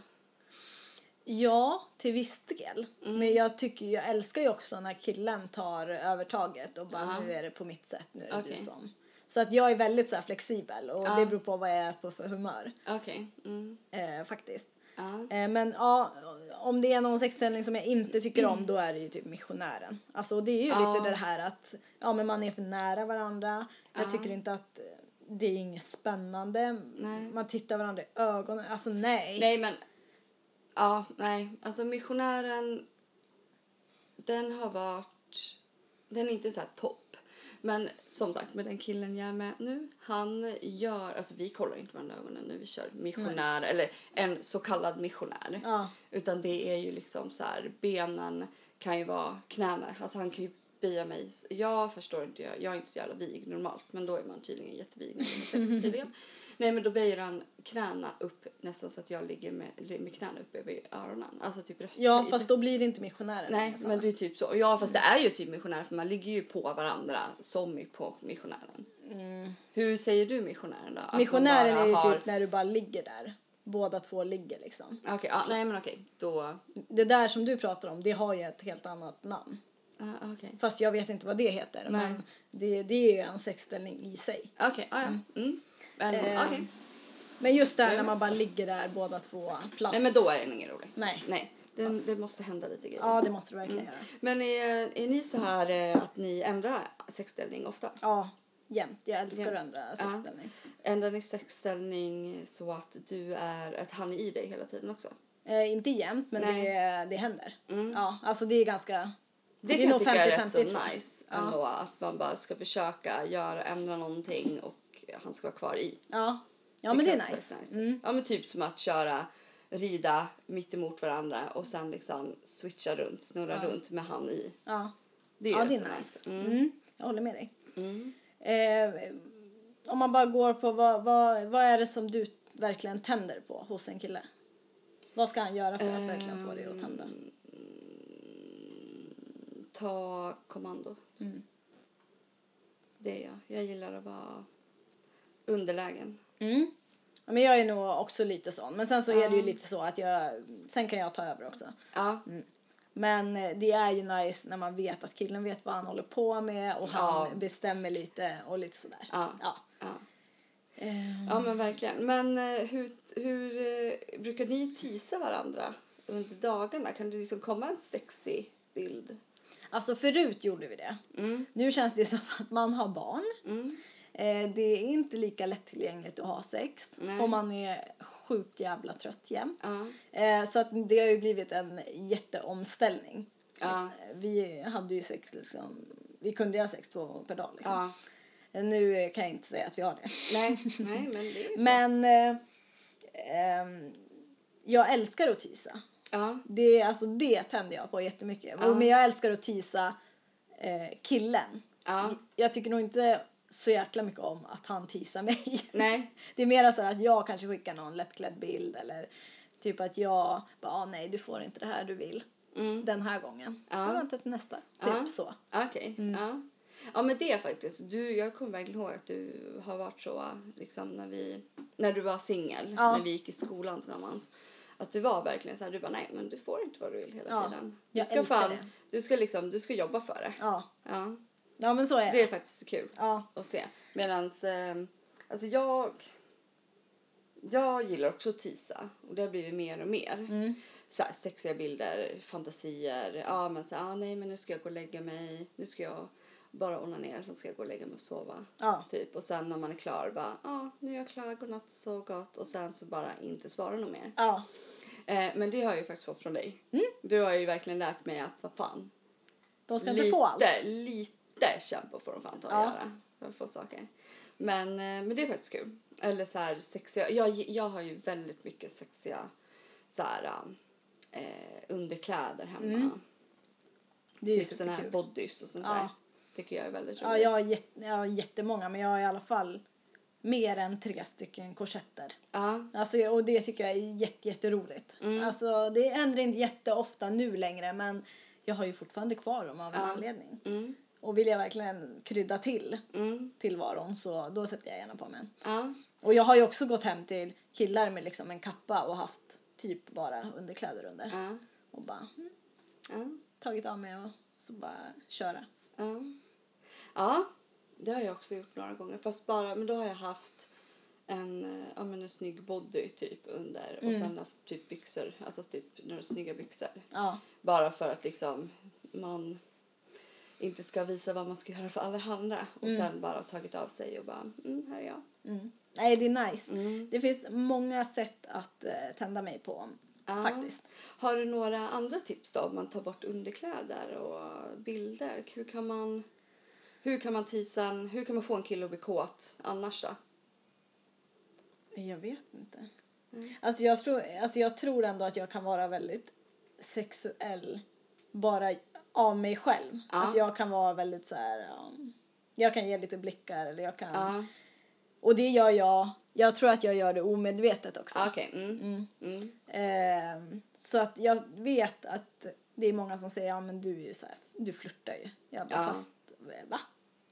Speaker 1: Ja, till viss del.
Speaker 2: Mm.
Speaker 1: Men jag tycker ju- jag älskar ju också när killen tar övertaget och bara
Speaker 2: Ja.
Speaker 1: nu är det på mitt sätt, nu är det
Speaker 2: Okej.
Speaker 1: du som. Så att jag är väldigt så här flexibel och
Speaker 2: Ja.
Speaker 1: det beror på vad jag är på för humör.
Speaker 2: Okej. Mm.
Speaker 1: eh, faktiskt.
Speaker 2: Ja.
Speaker 1: Eh, men ja, om det är någon sexställning som jag inte tycker om då är det ju typ missionären. Alltså det är ju
Speaker 2: Ja.
Speaker 1: lite det här att ja, men man är för nära varandra. Jag
Speaker 2: Ja.
Speaker 1: tycker inte att eh, det är inget spännande.
Speaker 2: Nej.
Speaker 1: Man tittar varandra i ögonen. Alltså nej.
Speaker 2: Nej, men... Ja, nej. Alltså missionären, den har varit... Den är inte så här topp. Men som sagt, med den killen jag är med nu, han gör... Alltså vi kollar inte varandra i ögonen när vi kör missionär, eller en så kallad missionär.
Speaker 1: Ja.
Speaker 2: Utan det är ju liksom så här, benen kan ju vara knäna. Alltså han kan ju böja mig. Jag förstår inte, jag, jag är inte så jävla vig normalt. Men då är man tydligen jättevig när man är sex, tydligen. Nej men då böjer han knäna upp nästan så att jag ligger med, med knäna upp över öronen. Alltså typ rösthöjd.
Speaker 1: Ja, fast då blir det inte missionären. Liksom.
Speaker 2: Nej,
Speaker 1: längre, så.
Speaker 2: men det är typ så. Ja, fast det är ju typ missionär för man ligger ju på varandra som i- på missionären. Hur säger du missionären då? Att man
Speaker 1: Mm. missionären
Speaker 2: bara
Speaker 1: är ju
Speaker 2: har-
Speaker 1: typ när du bara ligger där. Båda två ligger liksom.
Speaker 2: Okej, ja, nej men okej. Då...
Speaker 1: Det där som du pratar om, det har ju ett helt annat namn.
Speaker 2: Ja, ah, okej.
Speaker 1: Fast jag vet inte vad det heter.
Speaker 2: Nej.
Speaker 1: Men det, det är ju en sexställning i sig.
Speaker 2: Okej, ja, ja. Mm. Men
Speaker 1: Eh,
Speaker 2: okej.
Speaker 1: Men just det här
Speaker 2: Nej,
Speaker 1: när
Speaker 2: men-
Speaker 1: man bara ligger där båda två platt.
Speaker 2: Nej men då är den ingen rolig.
Speaker 1: Nej.
Speaker 2: Nej. Den, det måste hända lite grejer.
Speaker 1: Ja, det måste du
Speaker 2: Mm.
Speaker 1: verkligen göra.
Speaker 2: Men är, är ni så här eh, att ni ändrar sexställning ofta?
Speaker 1: Ja, jämt. Jag älskar
Speaker 2: Jämt.
Speaker 1: att ändra sexställning.
Speaker 2: Ändrar ni sexställning så att du är, att han är i dig hela tiden också?
Speaker 1: Eh, inte jämt, men
Speaker 2: Nej.
Speaker 1: det,
Speaker 2: Mm.
Speaker 1: det händer. Ja, alltså det är ganska...
Speaker 2: Det kan jag
Speaker 1: nog
Speaker 2: tycka är rätt
Speaker 1: 50-50,
Speaker 2: så
Speaker 1: tror jag.
Speaker 2: nice ändå att man bara ska försöka göra, ändra någonting och han ska vara kvar i.
Speaker 1: Ja, ja men det
Speaker 2: kan
Speaker 1: är
Speaker 2: också
Speaker 1: nice. Mm.
Speaker 2: vara Ja men typ som att köra, rida mitt emot varandra och sen liksom switcha runt, snurra runt med han i.
Speaker 1: Ja.
Speaker 2: Det är
Speaker 1: ja,
Speaker 2: rätt
Speaker 1: det
Speaker 2: så
Speaker 1: är
Speaker 2: nice.
Speaker 1: nice. Mm. Jag håller med dig.
Speaker 2: Mm.
Speaker 1: Eh, om man bara går på vad, vad, vad är det som du verkligen tänder på hos en kille? Vad ska han göra för att verkligen få dig att tända?
Speaker 2: Ehm, ta kommandot.
Speaker 1: Mm.
Speaker 2: Det är jag. Jag gillar att vara underlägen.
Speaker 1: Mm. Ja, Men jag är nog också lite sån. Men sen så är det ju lite så att jag, sen kan jag ta över också.
Speaker 2: Ja,
Speaker 1: Men eh, det är ju nice när man vet att killen vet vad han håller på med och han
Speaker 2: Ja.
Speaker 1: bestämmer lite och lite sådär.
Speaker 2: Ja.
Speaker 1: Ja.
Speaker 2: ja.
Speaker 1: Eh,
Speaker 2: ja men verkligen. Men eh, hur, hur eh, brukar ni tisa varandra under dagarna? Kan det liksom komma en sexy bild?
Speaker 1: Alltså förut gjorde vi det.
Speaker 2: Mm.
Speaker 1: Nu känns det ju som att man har barn. Eh, det är inte lika lättillgängligt att ha sex
Speaker 2: Nej.
Speaker 1: och man är sjukt jävla trött jämt.
Speaker 2: Ja.
Speaker 1: Eh, så att det har ju blivit en jätteomställning. Eh,
Speaker 2: Ja.
Speaker 1: Vi hade ju sex liksom, vi kunde ju ha sex två gånger per dag liksom.
Speaker 2: Ja.
Speaker 1: Nu eh, kan jag inte säga att vi har det.
Speaker 2: Nej, nej men det är ju så.
Speaker 1: Men eh, ehm, jag älskar att tisa.
Speaker 2: Ja.
Speaker 1: Det, alltså, det tänder jag på jättemycket.
Speaker 2: Ja.
Speaker 1: Men jag älskar att tisa eh, killen.
Speaker 2: Ja.
Speaker 1: Jag tycker nog inte så jäkla mycket om att han tisar mig.
Speaker 2: Nej.
Speaker 1: Det är mer så här att jag kanske skickar någon lättklädd bild eller typ att jag bara, ah, nej du får inte det här du vill
Speaker 2: Mm.
Speaker 1: den här gången.
Speaker 2: Ja.
Speaker 1: Så vänta till nästa. Typ
Speaker 2: Ja.
Speaker 1: så.
Speaker 2: Okej.
Speaker 1: Mm.
Speaker 2: Ja. ja, men det faktiskt. Du, jag kommer verkligen ihåg att du har varit så liksom när vi när du var singel,
Speaker 1: Ja.
Speaker 2: när vi gick i skolan tillsammans. Att du var verkligen så här, du bara nej men du får inte vad du vill hela
Speaker 1: Ja.
Speaker 2: tiden. Du
Speaker 1: Jag
Speaker 2: ska
Speaker 1: älskar
Speaker 2: fan,
Speaker 1: det.
Speaker 2: du ska liksom, du ska jobba för det.
Speaker 1: Ja,
Speaker 2: Ja.
Speaker 1: ja men så är
Speaker 2: Det är
Speaker 1: det.
Speaker 2: faktiskt kul
Speaker 1: Ja.
Speaker 2: att se. Medans, eh, alltså jag, jag gillar också att tisa och det har blivit mer och mer. Så här, sexiga bilder, fantasier, ja men så här, ah, nej men nu ska jag gå och lägga mig, nu ska jag bara onanera sen ska jag gå och lägga mig och sova.
Speaker 1: Ja.
Speaker 2: Typ. Och sen när man är klar bara, ja ah, nu är jag klar, godnatt, så gott och sen så bara inte svara något mer.
Speaker 1: Ja.
Speaker 2: Eh, men det har jag ju faktiskt fått från dig. Du har ju verkligen lärt mig att, vad fan,
Speaker 1: De ska inte
Speaker 2: lite,
Speaker 1: få allt.
Speaker 2: lite kämpa får de fan ta och
Speaker 1: Ja.
Speaker 2: göra. För att få saker. Men, eh, men det är faktiskt kul. Eller så här sexiga. Jag, jag har ju väldigt mycket sexiga så här, eh, underkläder hemma.
Speaker 1: Mm, Det är ju
Speaker 2: typ såna här
Speaker 1: superkul.
Speaker 2: bodys och sånt
Speaker 1: Ja.
Speaker 2: där. Tycker jag är väldigt roligt.
Speaker 1: Ja, jag har, jätt, jag har jättemånga men jag har i alla fall mer än tre stycken korsetter.
Speaker 2: Ja.
Speaker 1: Alltså, och det tycker jag är jätte, jätteroligt.
Speaker 2: Mm.
Speaker 1: Alltså, det händer inte jätteofta nu längre men jag har ju fortfarande kvar dem av en anledning.
Speaker 2: Mm.
Speaker 1: Och vill jag verkligen krydda till
Speaker 2: Mm.
Speaker 1: tillvaron så då sätter jag gärna på mig en.
Speaker 2: Ja.
Speaker 1: Och jag har ju också gått hem till killar med liksom en kappa och haft typ bara underkläder under.
Speaker 2: Ja.
Speaker 1: Och bara mm,
Speaker 2: Ja.
Speaker 1: tagit av mig och så bara köra.
Speaker 2: Ja. ja, det har jag också gjort några gånger. Fast bara, men då har jag haft en, eh, ja, men en snygg body typ under och sen haft typ byxor, alltså typ några snygga byxor.
Speaker 1: Ja.
Speaker 2: Bara för att liksom man inte ska visa vad man ska göra för alla andra. Och sen bara tagit av sig och bara, mm, här är jag.
Speaker 1: Mm. Nej, det är nice.
Speaker 2: Mm.
Speaker 1: Det finns många sätt att eh, tända mig på
Speaker 2: Ja.
Speaker 1: faktiskt.
Speaker 2: Har du några andra tips då om man tar bort underkläder och bilder? Hur kan man, hur kan man tisa en, hur kan man få en kille att bli kåt annars då?
Speaker 1: Jag vet inte.
Speaker 2: Mm.
Speaker 1: Alltså, jag tror, alltså jag tror ändå att jag kan vara väldigt sexuell bara av mig själv.
Speaker 2: Ja.
Speaker 1: Att jag kan vara väldigt så här... ja, jag kan ge lite blickar eller jag kan...
Speaker 2: Ja.
Speaker 1: Och det gör jag. Jag tror att jag gör det omedvetet också.
Speaker 2: Ah, Okej. Mm. Mm.
Speaker 1: Ehm, så att jag vet att det är många som säger ja men du är ju så här, du flörtar ju. Jag bara,
Speaker 2: Ja. Mm.
Speaker 1: fast va?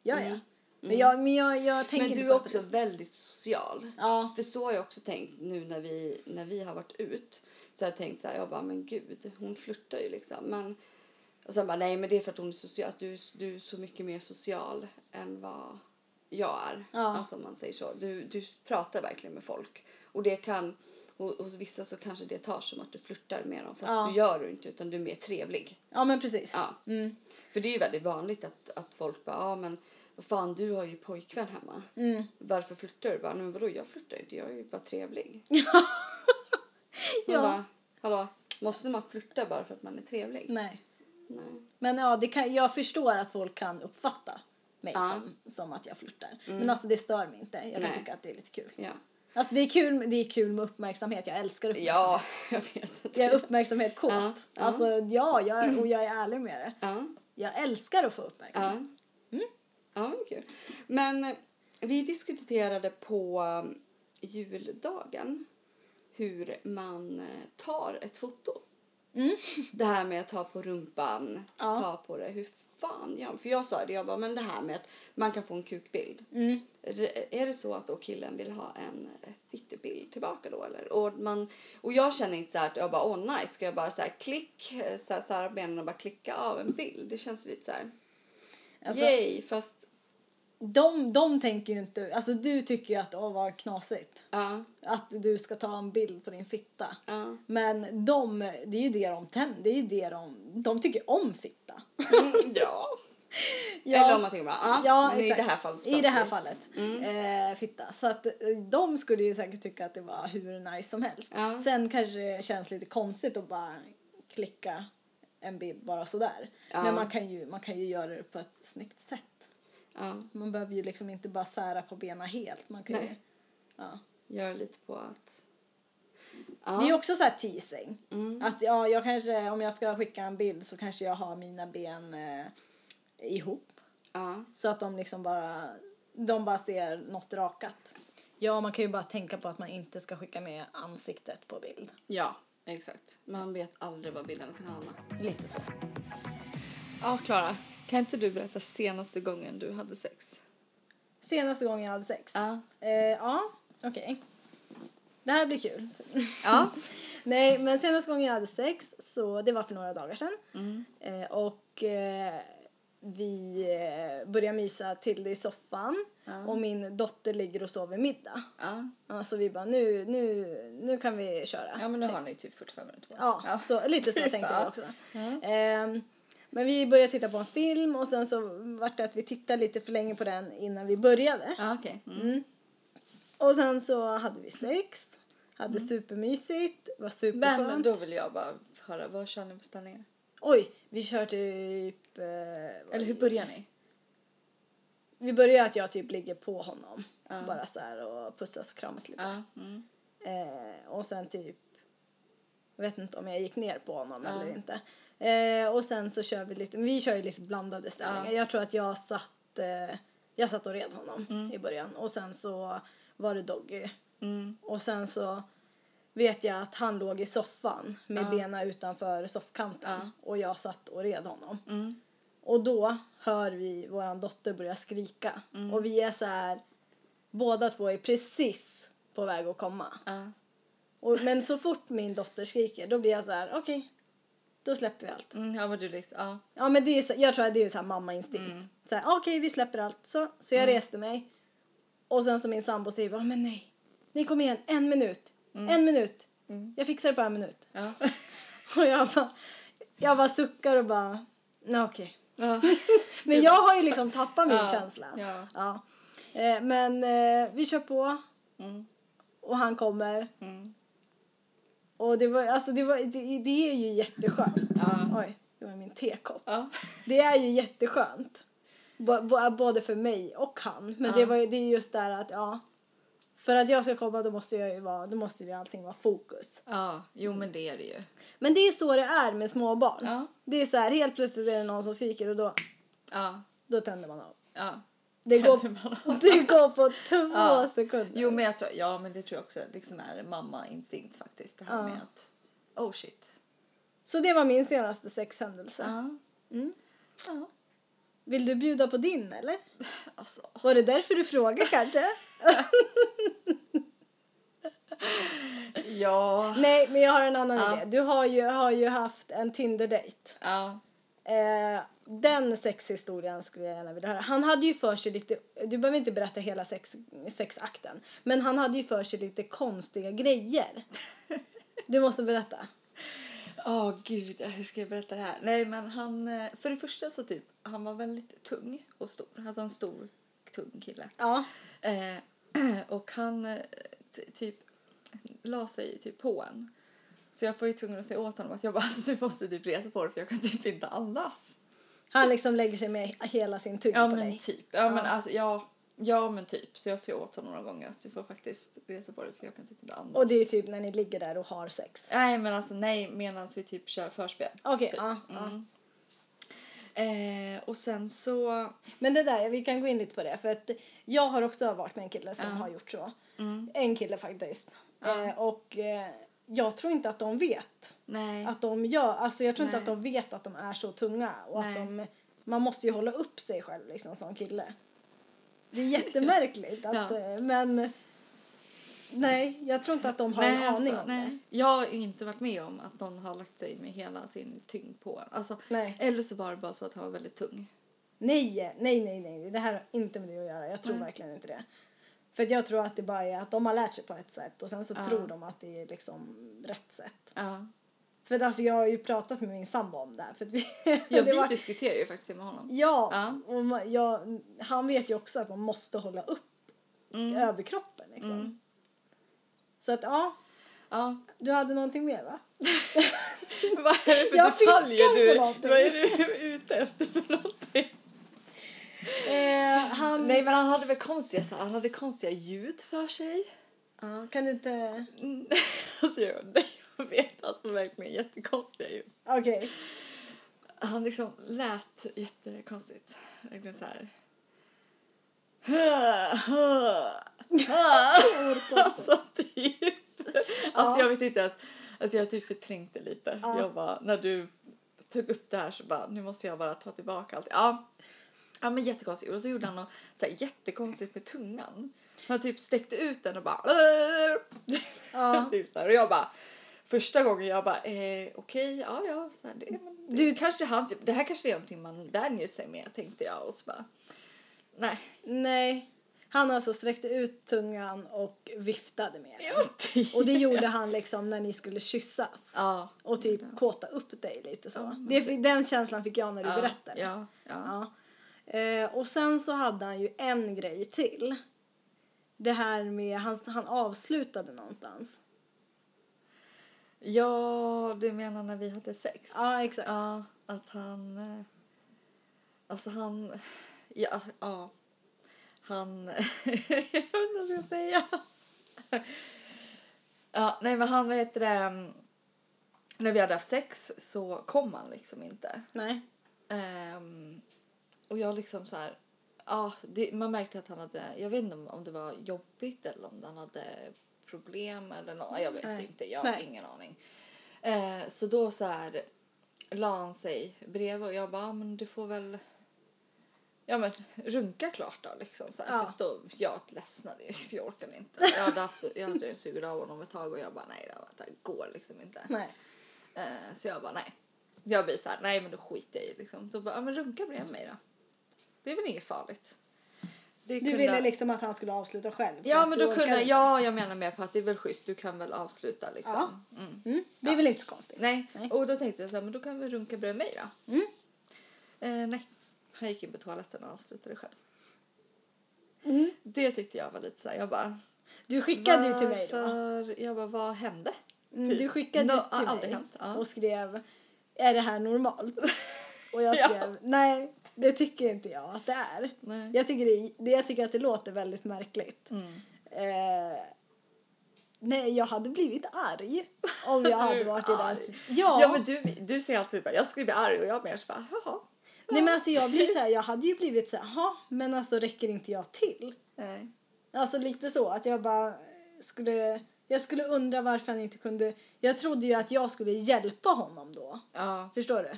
Speaker 1: Gör jag? Men jag, men jag, jag tänker
Speaker 2: Men
Speaker 1: inte
Speaker 2: du
Speaker 1: på
Speaker 2: är
Speaker 1: att-
Speaker 2: också väldigt social.
Speaker 1: Ja.
Speaker 2: För så har jag också tänkt nu när vi, när vi har varit ut. Så har jag tänkt så här, jag bara, men gud, hon flörtar ju liksom. Men, och sen bara, nej men det är för att hon är social. Alltså, Du, du är så mycket mer social än vad jag är.
Speaker 1: Ja.
Speaker 2: Alltså om man säger så. Du, du pratar verkligen med folk. Och det kan, och, hos vissa så kanske det tar som att du flörtar med dem. Fast
Speaker 1: Ja.
Speaker 2: du gör det inte utan du är mer trevlig.
Speaker 1: Ja men precis.
Speaker 2: Ja.
Speaker 1: Mm.
Speaker 2: För det är ju väldigt vanligt att, att folk bara, ja men vad fan du har ju pojkvän hemma.
Speaker 1: Mm.
Speaker 2: Varför flörtar du? Bara, "Nej, men vadå jag flörtar inte, jag är ju bara trevlig. Man
Speaker 1: Ja.
Speaker 2: bara, hallå, måste man flörta bara för att man är trevlig?
Speaker 1: Nej.
Speaker 2: Nej.
Speaker 1: Men ja, det kan, jag förstår att folk kan uppfatta mig
Speaker 2: Ja. Mm.
Speaker 1: som, som att jag flörtar. Men alltså det stör mig inte. Jag kan
Speaker 2: Nej.
Speaker 1: tycka att det är lite kul.
Speaker 2: Ja.
Speaker 1: Alltså det är kul, med- det är kul med uppmärksamhet. Jag älskar uppmärksamhet.
Speaker 2: ja, jag vet inte.
Speaker 1: Jag är uppmärksamhet kåt.
Speaker 2: Ja, ja.
Speaker 1: Alltså ja, jag, och jag är ärlig med det.
Speaker 2: Ja,
Speaker 1: Jag älskar att få
Speaker 2: ja.
Speaker 1: uppmärksamhet. Mm.
Speaker 2: ja men kul. Men eh, vi diskuterade på um, juldagen hur man eh, tar ett foto. Det här med att ta på rumpan,
Speaker 1: Ja.
Speaker 2: ta på det. Hur fan gör man? För jag sa det, jag bara, men det här med att man kan få en kukbild.
Speaker 1: Mm.
Speaker 2: Re- Är det så att då killen vill ha en eh, fittebild tillbaka då eller? Och, man, och jag känner inte så här att jag bara, åh oh, nice, ska jag bara så här klick, eh, så här, så här benen och bara klicka av en bild? Det känns lite så här,
Speaker 1: Alltså,
Speaker 2: yay, fast
Speaker 1: de, de tänker ju inte... Alltså du tycker ju att åh vad knasigt.
Speaker 2: ja,
Speaker 1: Att du ska ta en bild på din fitta.
Speaker 2: ja.
Speaker 1: Men de, det är ju det de tänder. Det är ju det de... De tycker om fitta.
Speaker 2: Mm, ja. Eller om man tänker bara, ah,
Speaker 1: Ja,
Speaker 2: men i
Speaker 1: exakt.
Speaker 2: det här fallet så
Speaker 1: I
Speaker 2: pratar
Speaker 1: det här
Speaker 2: vi. Mm.
Speaker 1: fallet. Eh, fitta. Så att eh, de skulle ju säkert tycka att det var hur nice som helst.
Speaker 2: Ja.
Speaker 1: Sen kanske det känns lite konstigt att bara klicka en bild bara sådär.
Speaker 2: Ja.
Speaker 1: Men man kan, ju, man kan ju göra det på ett snyggt sätt.
Speaker 2: Ja,
Speaker 1: Man behöver ju liksom inte bara sära på benen helt. Man kan ju,
Speaker 2: Nej.
Speaker 1: ja.
Speaker 2: gör lite på att
Speaker 1: Det är ju också så här teasing.
Speaker 2: Mm.
Speaker 1: Att ja, jag kanske, om jag ska skicka en bild så kanske jag har mina ben eh, ihop.
Speaker 2: Ja.
Speaker 1: Så att de liksom bara, de bara ser något rakat. Ja, man kan ju bara tänka på att man inte ska skicka med ansiktet på bild.
Speaker 2: ja, exakt. Man vet aldrig vad bilden kan hamna.
Speaker 1: Lite så.
Speaker 2: Ja, Klara. Kan inte du berätta senaste gången du hade sex?
Speaker 1: Senaste gången jag hade sex.
Speaker 2: Ja.
Speaker 1: Eh, ja, okej. Det här blir kul.
Speaker 2: Ja.
Speaker 1: Nej, men senaste gången jag hade sex, så det var för några dagar sedan.
Speaker 2: Mm.
Speaker 1: Eh, och eh, vi eh, började mysa till det i soffan och min dotter ligger och sover middag.
Speaker 2: Ja,
Speaker 1: Ja, så vi bara, nu, nu, nu kan vi köra.
Speaker 2: ja men nu har ni typ 45 minuter på
Speaker 1: Ja,
Speaker 2: ja.
Speaker 1: Så, lite så
Speaker 2: Typ,
Speaker 1: tänkte
Speaker 2: ja.
Speaker 1: jag också. Ehm, men vi började titta på en film och sen så vart det att vi tittade lite för länge på den innan vi började.
Speaker 2: ja okej. Mm.
Speaker 1: Och sen så hade vi sex, hade
Speaker 2: Mm.
Speaker 1: supermysigt, var superskönt.
Speaker 2: Men då vill jag bara höra, vad kör ni för ställningar?
Speaker 1: Oj, vi kör typ... Eh,
Speaker 2: Eller hur börjar ni?
Speaker 1: vi börjar att jag typ ligger på honom. Bara så här och pussas och kramas lite.
Speaker 2: Ja. Mm.
Speaker 1: Eh, och sen typ... Jag vet inte om jag gick ner på honom eller inte. Eh, och sen så kör vi lite... Vi kör ju lite blandade ställningar. Jag tror att jag satt... Eh, jag satt och red honom i början. Och sen så var det Doggy. Och sen så vet jag att han låg i soffan med benen utanför soffkanten. Och jag satt och red honom. Och då hör vi vår dotter börja skrika. Och vi är så här... Båda två är precis på väg att komma.
Speaker 2: Ja.
Speaker 1: Och, men så fort min dotter skriker då blir jag så här, okej, då släpper vi allt.
Speaker 2: Mm, ja, men du liksom, ja.
Speaker 1: Ja, men det är ju så, jag tror att det är så här mammainstinkt. Så här, okej, vi släpper allt. Så, så jag reste mig. Och sen så min sambo säger, bara, men nej, nej kom igen, en minut, en minut. Jag fixar det på en minut.
Speaker 2: Ja.
Speaker 1: Och jag bara, jag bara suckar och bara, nej okej.
Speaker 2: Ja.
Speaker 1: Men jag har ju liksom tappat min
Speaker 2: Ja,
Speaker 1: känsla.
Speaker 2: ja.
Speaker 1: Eh, Men eh, vi kör på.
Speaker 2: Mm.
Speaker 1: Och han kommer.
Speaker 2: Mm.
Speaker 1: Och det, var, alltså det, var, det, det är ju jätteskönt.
Speaker 2: Ja.
Speaker 1: Oj, det var min tekopp.
Speaker 2: Ja.
Speaker 1: Det är ju jätteskönt. B- b- både för mig och han. Men det, var, ju- det är just där att, ja. För att jag ska komma då måste, jag ju vara, då måste ju allting vara fokus.
Speaker 2: ja, jo men det är det ju.
Speaker 1: Men det är så det är med småbarn.
Speaker 2: Ja.
Speaker 1: Det är så här, helt plötsligt är det någon som skriker och då,
Speaker 2: Ja,
Speaker 1: då tänder man av.
Speaker 2: ja.
Speaker 1: Det går,
Speaker 2: Tänder man
Speaker 1: det går på två
Speaker 2: Ja.
Speaker 1: sekunder.
Speaker 2: Jo men jag tror, ja men det tror jag också liksom är mammainstinkt faktiskt. Det här med att, oh shit.
Speaker 1: Så det var min senaste sexhändelse.
Speaker 2: Ja. Mm. Ja.
Speaker 1: Vill du bjuda på din eller?
Speaker 2: Alltså,
Speaker 1: Var det därför du frågade kanske?
Speaker 2: ja.
Speaker 1: Nej, men jag har en annan
Speaker 2: Ja.
Speaker 1: idé. Du har ju, har ju haft en Tinder-dejt.
Speaker 2: Ja.
Speaker 1: Eh, den sexhistorien skulle jag gärna vilja höra. Han hade ju för sig lite, du behöver inte berätta hela sex, sexakten, men han hade ju för sig lite konstiga grejer. Du måste berätta.
Speaker 2: Åh gud, hur ska jag berätta det här? Nej men han, eh, för det första så typ, han var väldigt tung och stor. Alltså en stor, tung kille.
Speaker 1: Ja.
Speaker 2: Eh, och han eh, t- typ la sig typ på en. Så jag får ju tvungen att säga åt honom att jag bara, alltså, du måste typ resa på dig för jag kan typ inte andas.
Speaker 1: Han liksom lägger sig med hela sin tyngd
Speaker 2: Ja
Speaker 1: på
Speaker 2: men
Speaker 1: dig.
Speaker 2: typ. Ja, men alltså ja. Ja men typ. Så jag säger åt honom några gånger att du får faktiskt resa på dig för jag kan typ inte andas.
Speaker 1: Och det är typ när ni ligger där och har sex.
Speaker 2: Nej men alltså nej medan vi typ kör förspel.
Speaker 1: Okej,
Speaker 2: typ.
Speaker 1: ja, ja.
Speaker 2: Mm. Eh, och sen så
Speaker 1: Men det där, vi kan gå in lite på det. För att jag har också varit med en kille som har gjort så.
Speaker 2: Mm.
Speaker 1: En kille faktiskt. Eh, och eh, jag tror inte att de vet
Speaker 2: nej.
Speaker 1: att de gör, alltså jag tror inte
Speaker 2: Nej.
Speaker 1: att de vet att de är så tunga och att
Speaker 2: Nej.
Speaker 1: de, man måste ju hålla upp sig själv liksom som kille. Det är jättemärkligt att,
Speaker 2: Ja.
Speaker 1: eh, men nej, jag tror inte att de har en
Speaker 2: Nej,
Speaker 1: aning
Speaker 2: alltså,
Speaker 1: om
Speaker 2: nej. Jag har inte varit med om att någon har lagt sig med hela sin tyngd på en. Alltså,
Speaker 1: Nej.
Speaker 2: Eller så var det bara så att han var väldigt tung.
Speaker 1: det. Nej, nej, nej, nej, det här har inte med det att göra. Jag tror verkligen inte det. För att jag tror att det bara är att de har lärt sig på ett sätt och sen så tror de att det är liksom rätt sätt.
Speaker 2: Ja.
Speaker 1: För att alltså jag har ju pratat med min sambo om det här. För att vi,
Speaker 2: Ja,
Speaker 1: det
Speaker 2: vi
Speaker 1: var-
Speaker 2: diskuterar ju faktiskt det med honom.
Speaker 1: Ja,
Speaker 2: Ja.
Speaker 1: och ma- ja, han vet ju också att man måste hålla upp
Speaker 2: Mm.
Speaker 1: överkroppen. Liksom. Så att ja,
Speaker 2: Ja.
Speaker 1: du hade någonting mer va?
Speaker 2: Vad är det för
Speaker 1: Jag
Speaker 2: detaljer
Speaker 1: fiskar för
Speaker 2: du,
Speaker 1: någonting.
Speaker 2: vad är du ute efter för någonting?
Speaker 1: Eh, han, Eh,
Speaker 2: Nej men han hade väl konstiga, så- han hade konstiga ljud för sig.
Speaker 1: Ja, kan du inte...
Speaker 2: Mm, alltså jag, jag vet, han såg verkligen jättekonstiga ut.
Speaker 1: Okej.
Speaker 2: Han liksom lät jättekonstigt. Verkligen så här. alltså typ. Alltså jag vet inte ens. Alltså jag typ förträngt det lite.
Speaker 1: Ja.
Speaker 2: Jag bara, när du tog upp det här så bara, nu måste jag bara ta tillbaka allt. Ja. Ja men jättekonstigt. Och så gjorde han något så här jättekonstigt med tungan. Han typ sträckte ut den och bara.
Speaker 1: Ja.
Speaker 2: typ så här. Och jag bara. Första gången jag bara eh, okej, ja ja. Så här, det, men, det,
Speaker 1: Du-
Speaker 2: kanske han, typ, det här kanske är någonting man vänjer sig med tänkte jag. Och så bara. Nej.
Speaker 1: Nej. Han alltså sträckte ut tungan och viftade med den.
Speaker 2: Ja, typ.
Speaker 1: Och det gjorde han liksom när ni skulle kyssas.
Speaker 2: Ja.
Speaker 1: Och typ kåta upp dig lite så. det, fi- den känslan fick jag när du
Speaker 2: ja,
Speaker 1: berättade.
Speaker 2: Ja. ja.
Speaker 1: Ja. Eh, och sen så hade han ju en grej till. Det här med, han, han avslutade någonstans.
Speaker 2: Ja, du menar när vi hade sex?
Speaker 1: Ja, exakt.
Speaker 2: Ja, att han... eh, Alltså han... Ja, ja. Han... jag vet inte vad jag ska säga. Ja, nej men han, vad heter det... mm, När vi hade haft sex så kom han liksom inte.
Speaker 1: Nej.
Speaker 2: Ehm, och jag liksom så här... Ja, det, man märkte att han hade... Jag vet inte om, om det var jobbigt eller om han hade problem eller något. Jag vet
Speaker 1: Nej.
Speaker 2: inte, jag har
Speaker 1: Nej.
Speaker 2: ingen aning. Eh, så då så här la han sig bredvid och jag bara, "Ah, men du får väl... Ja men runka klart då liksom så här.
Speaker 1: Ja.
Speaker 2: För att då, jag ledsnade ju, så jag orkade inte. Jag hade, haft, jag hade sugit av honom ett tag och jag bara nej det här går liksom inte.
Speaker 1: Nej.
Speaker 2: Eh, så jag bara nej. Jag blir så här, nej men då skiter jag i liksom. Då bara, ja men runka bredvid mig då. Det är väl inget farligt. Det
Speaker 1: Du ville liksom att han skulle avsluta själv. för
Speaker 2: Ja
Speaker 1: att
Speaker 2: men
Speaker 1: du
Speaker 2: då kunde,
Speaker 1: orkade.
Speaker 2: ja jag menar mer på att det är väl schysst, du kan väl avsluta liksom. Mm.
Speaker 1: Mm, det är väl inte så konstigt.
Speaker 2: Nej.
Speaker 1: Nej.
Speaker 2: och då tänkte jag så här, men då kan vi runka bredvid mig då.
Speaker 1: Mm.
Speaker 2: Eh, nej, han gick in på toaletten och avslutade själv. Det tyckte jag var lite så här, jag bara...
Speaker 1: Du Mm. skickade ju till mig då.
Speaker 2: varför- Jag bara, vad hände?
Speaker 1: Mm,
Speaker 2: Typ.
Speaker 1: Du skickade
Speaker 2: Nå-
Speaker 1: ju
Speaker 2: har
Speaker 1: till
Speaker 2: aldrig
Speaker 1: mig
Speaker 2: hänt, ja.
Speaker 1: och skrev Är det här normalt? Och jag
Speaker 2: Ja.
Speaker 1: skrev Nej, det tycker inte jag att det är.
Speaker 2: Nej. Mm.
Speaker 1: Jag tycker, det, det, jag tycker att det låter väldigt märkligt. Eh, nej, jag hade blivit arg om jag hade varit i den
Speaker 2: den
Speaker 1: ja.
Speaker 2: ja. ja men du, du säger alltid bara, jag skulle bli arg och jag mer så bara, jaha.
Speaker 1: Nej men alltså jag blir så här, jag hade ju blivit så här, "Jaha, men alltså räcker inte jag till?
Speaker 2: Nej.
Speaker 1: Alltså lite så att jag bara skulle, jag skulle undra varför han inte kunde, jag trodde ju att jag skulle hjälpa honom då.
Speaker 2: Ja.
Speaker 1: Förstår du?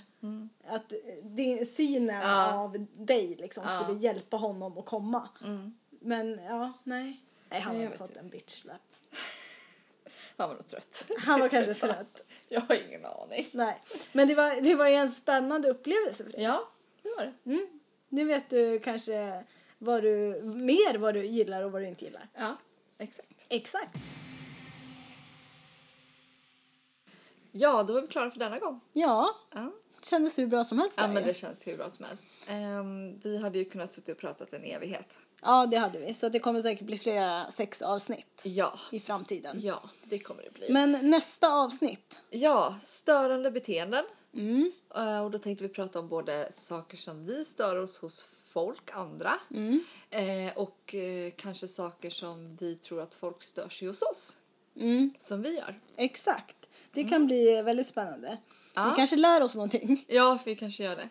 Speaker 1: Att eh, din, synen
Speaker 2: Mm. Ja.
Speaker 1: av dig liksom
Speaker 2: Ja.
Speaker 1: skulle hjälpa honom att komma.
Speaker 2: Mm.
Speaker 1: Men ja, nej. Nej, han
Speaker 2: Nej, jag
Speaker 1: hade
Speaker 2: vet
Speaker 1: fått
Speaker 2: inte.
Speaker 1: en bitch slap.
Speaker 2: Han var nog trött.
Speaker 1: Han var kanske trött.
Speaker 2: Jag har ingen aning.
Speaker 1: Nej, men det var, det var ju en spännande upplevelse för dig.
Speaker 2: Ja, det var det.
Speaker 1: Mm. Nu vet du kanske vad du, mer vad du gillar och vad du inte gillar.
Speaker 2: Ja, exakt.
Speaker 1: Exakt.
Speaker 2: Ja, då var vi klara för denna gång.
Speaker 1: Ja,
Speaker 2: Ja.
Speaker 1: kändes hur bra som helst.
Speaker 2: Ja,
Speaker 1: där
Speaker 2: men
Speaker 1: ju.
Speaker 2: det känns hur bra som helst. Ehm, vi hade ju kunnat sitta och pratat en evighet.
Speaker 1: ja, det hade vi. Så det kommer säkert bli flera sexavsnitt
Speaker 2: Ja.
Speaker 1: i framtiden.
Speaker 2: Ja, det kommer det bli.
Speaker 1: Men nästa avsnitt.
Speaker 2: Ja, störande beteenden. Eh, och då tänkte vi prata om både saker som vi stör oss hos folk, andra. Eh, och eh, kanske saker som vi tror att folk stör sig hos oss.
Speaker 1: Mm,
Speaker 2: Som vi gör.
Speaker 1: exakt. Det kan bli väldigt spännande.
Speaker 2: Mm. Ja.
Speaker 1: Vi kanske lär oss någonting.
Speaker 2: Ja, vi kanske gör det.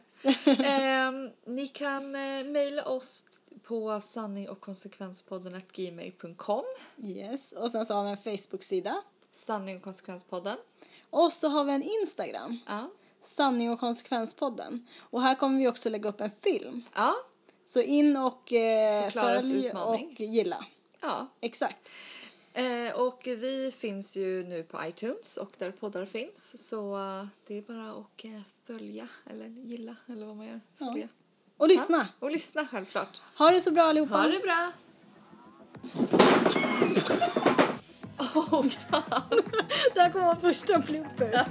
Speaker 2: Ehm, ni kan eh, mejla oss på sanning och konsekvenspodden gmail.com.
Speaker 1: Yes. Och sen så har vi en Facebook-sida.
Speaker 2: Sanning och konsekvenspodden.
Speaker 1: Och så har vi en Instagram.
Speaker 2: Ja.
Speaker 1: Sanning och konsekvenspodden. Och här kommer vi också lägga upp en film.
Speaker 2: Ja.
Speaker 1: Så in och eh,
Speaker 2: Förklaras
Speaker 1: följ
Speaker 2: utmaning.
Speaker 1: och gilla.
Speaker 2: ja.
Speaker 1: Exakt.
Speaker 2: Eh, och vi finns ju nu på iTunes och där poddar finns. Så eh, det är bara att eh, följa eller gilla eller vad man gör. Följa.
Speaker 1: Och lyssna.
Speaker 2: Och lyssna självklart.
Speaker 1: Ha det så bra allihopa.
Speaker 2: Ha det bra!
Speaker 1: Det här kommer vara första bloopers.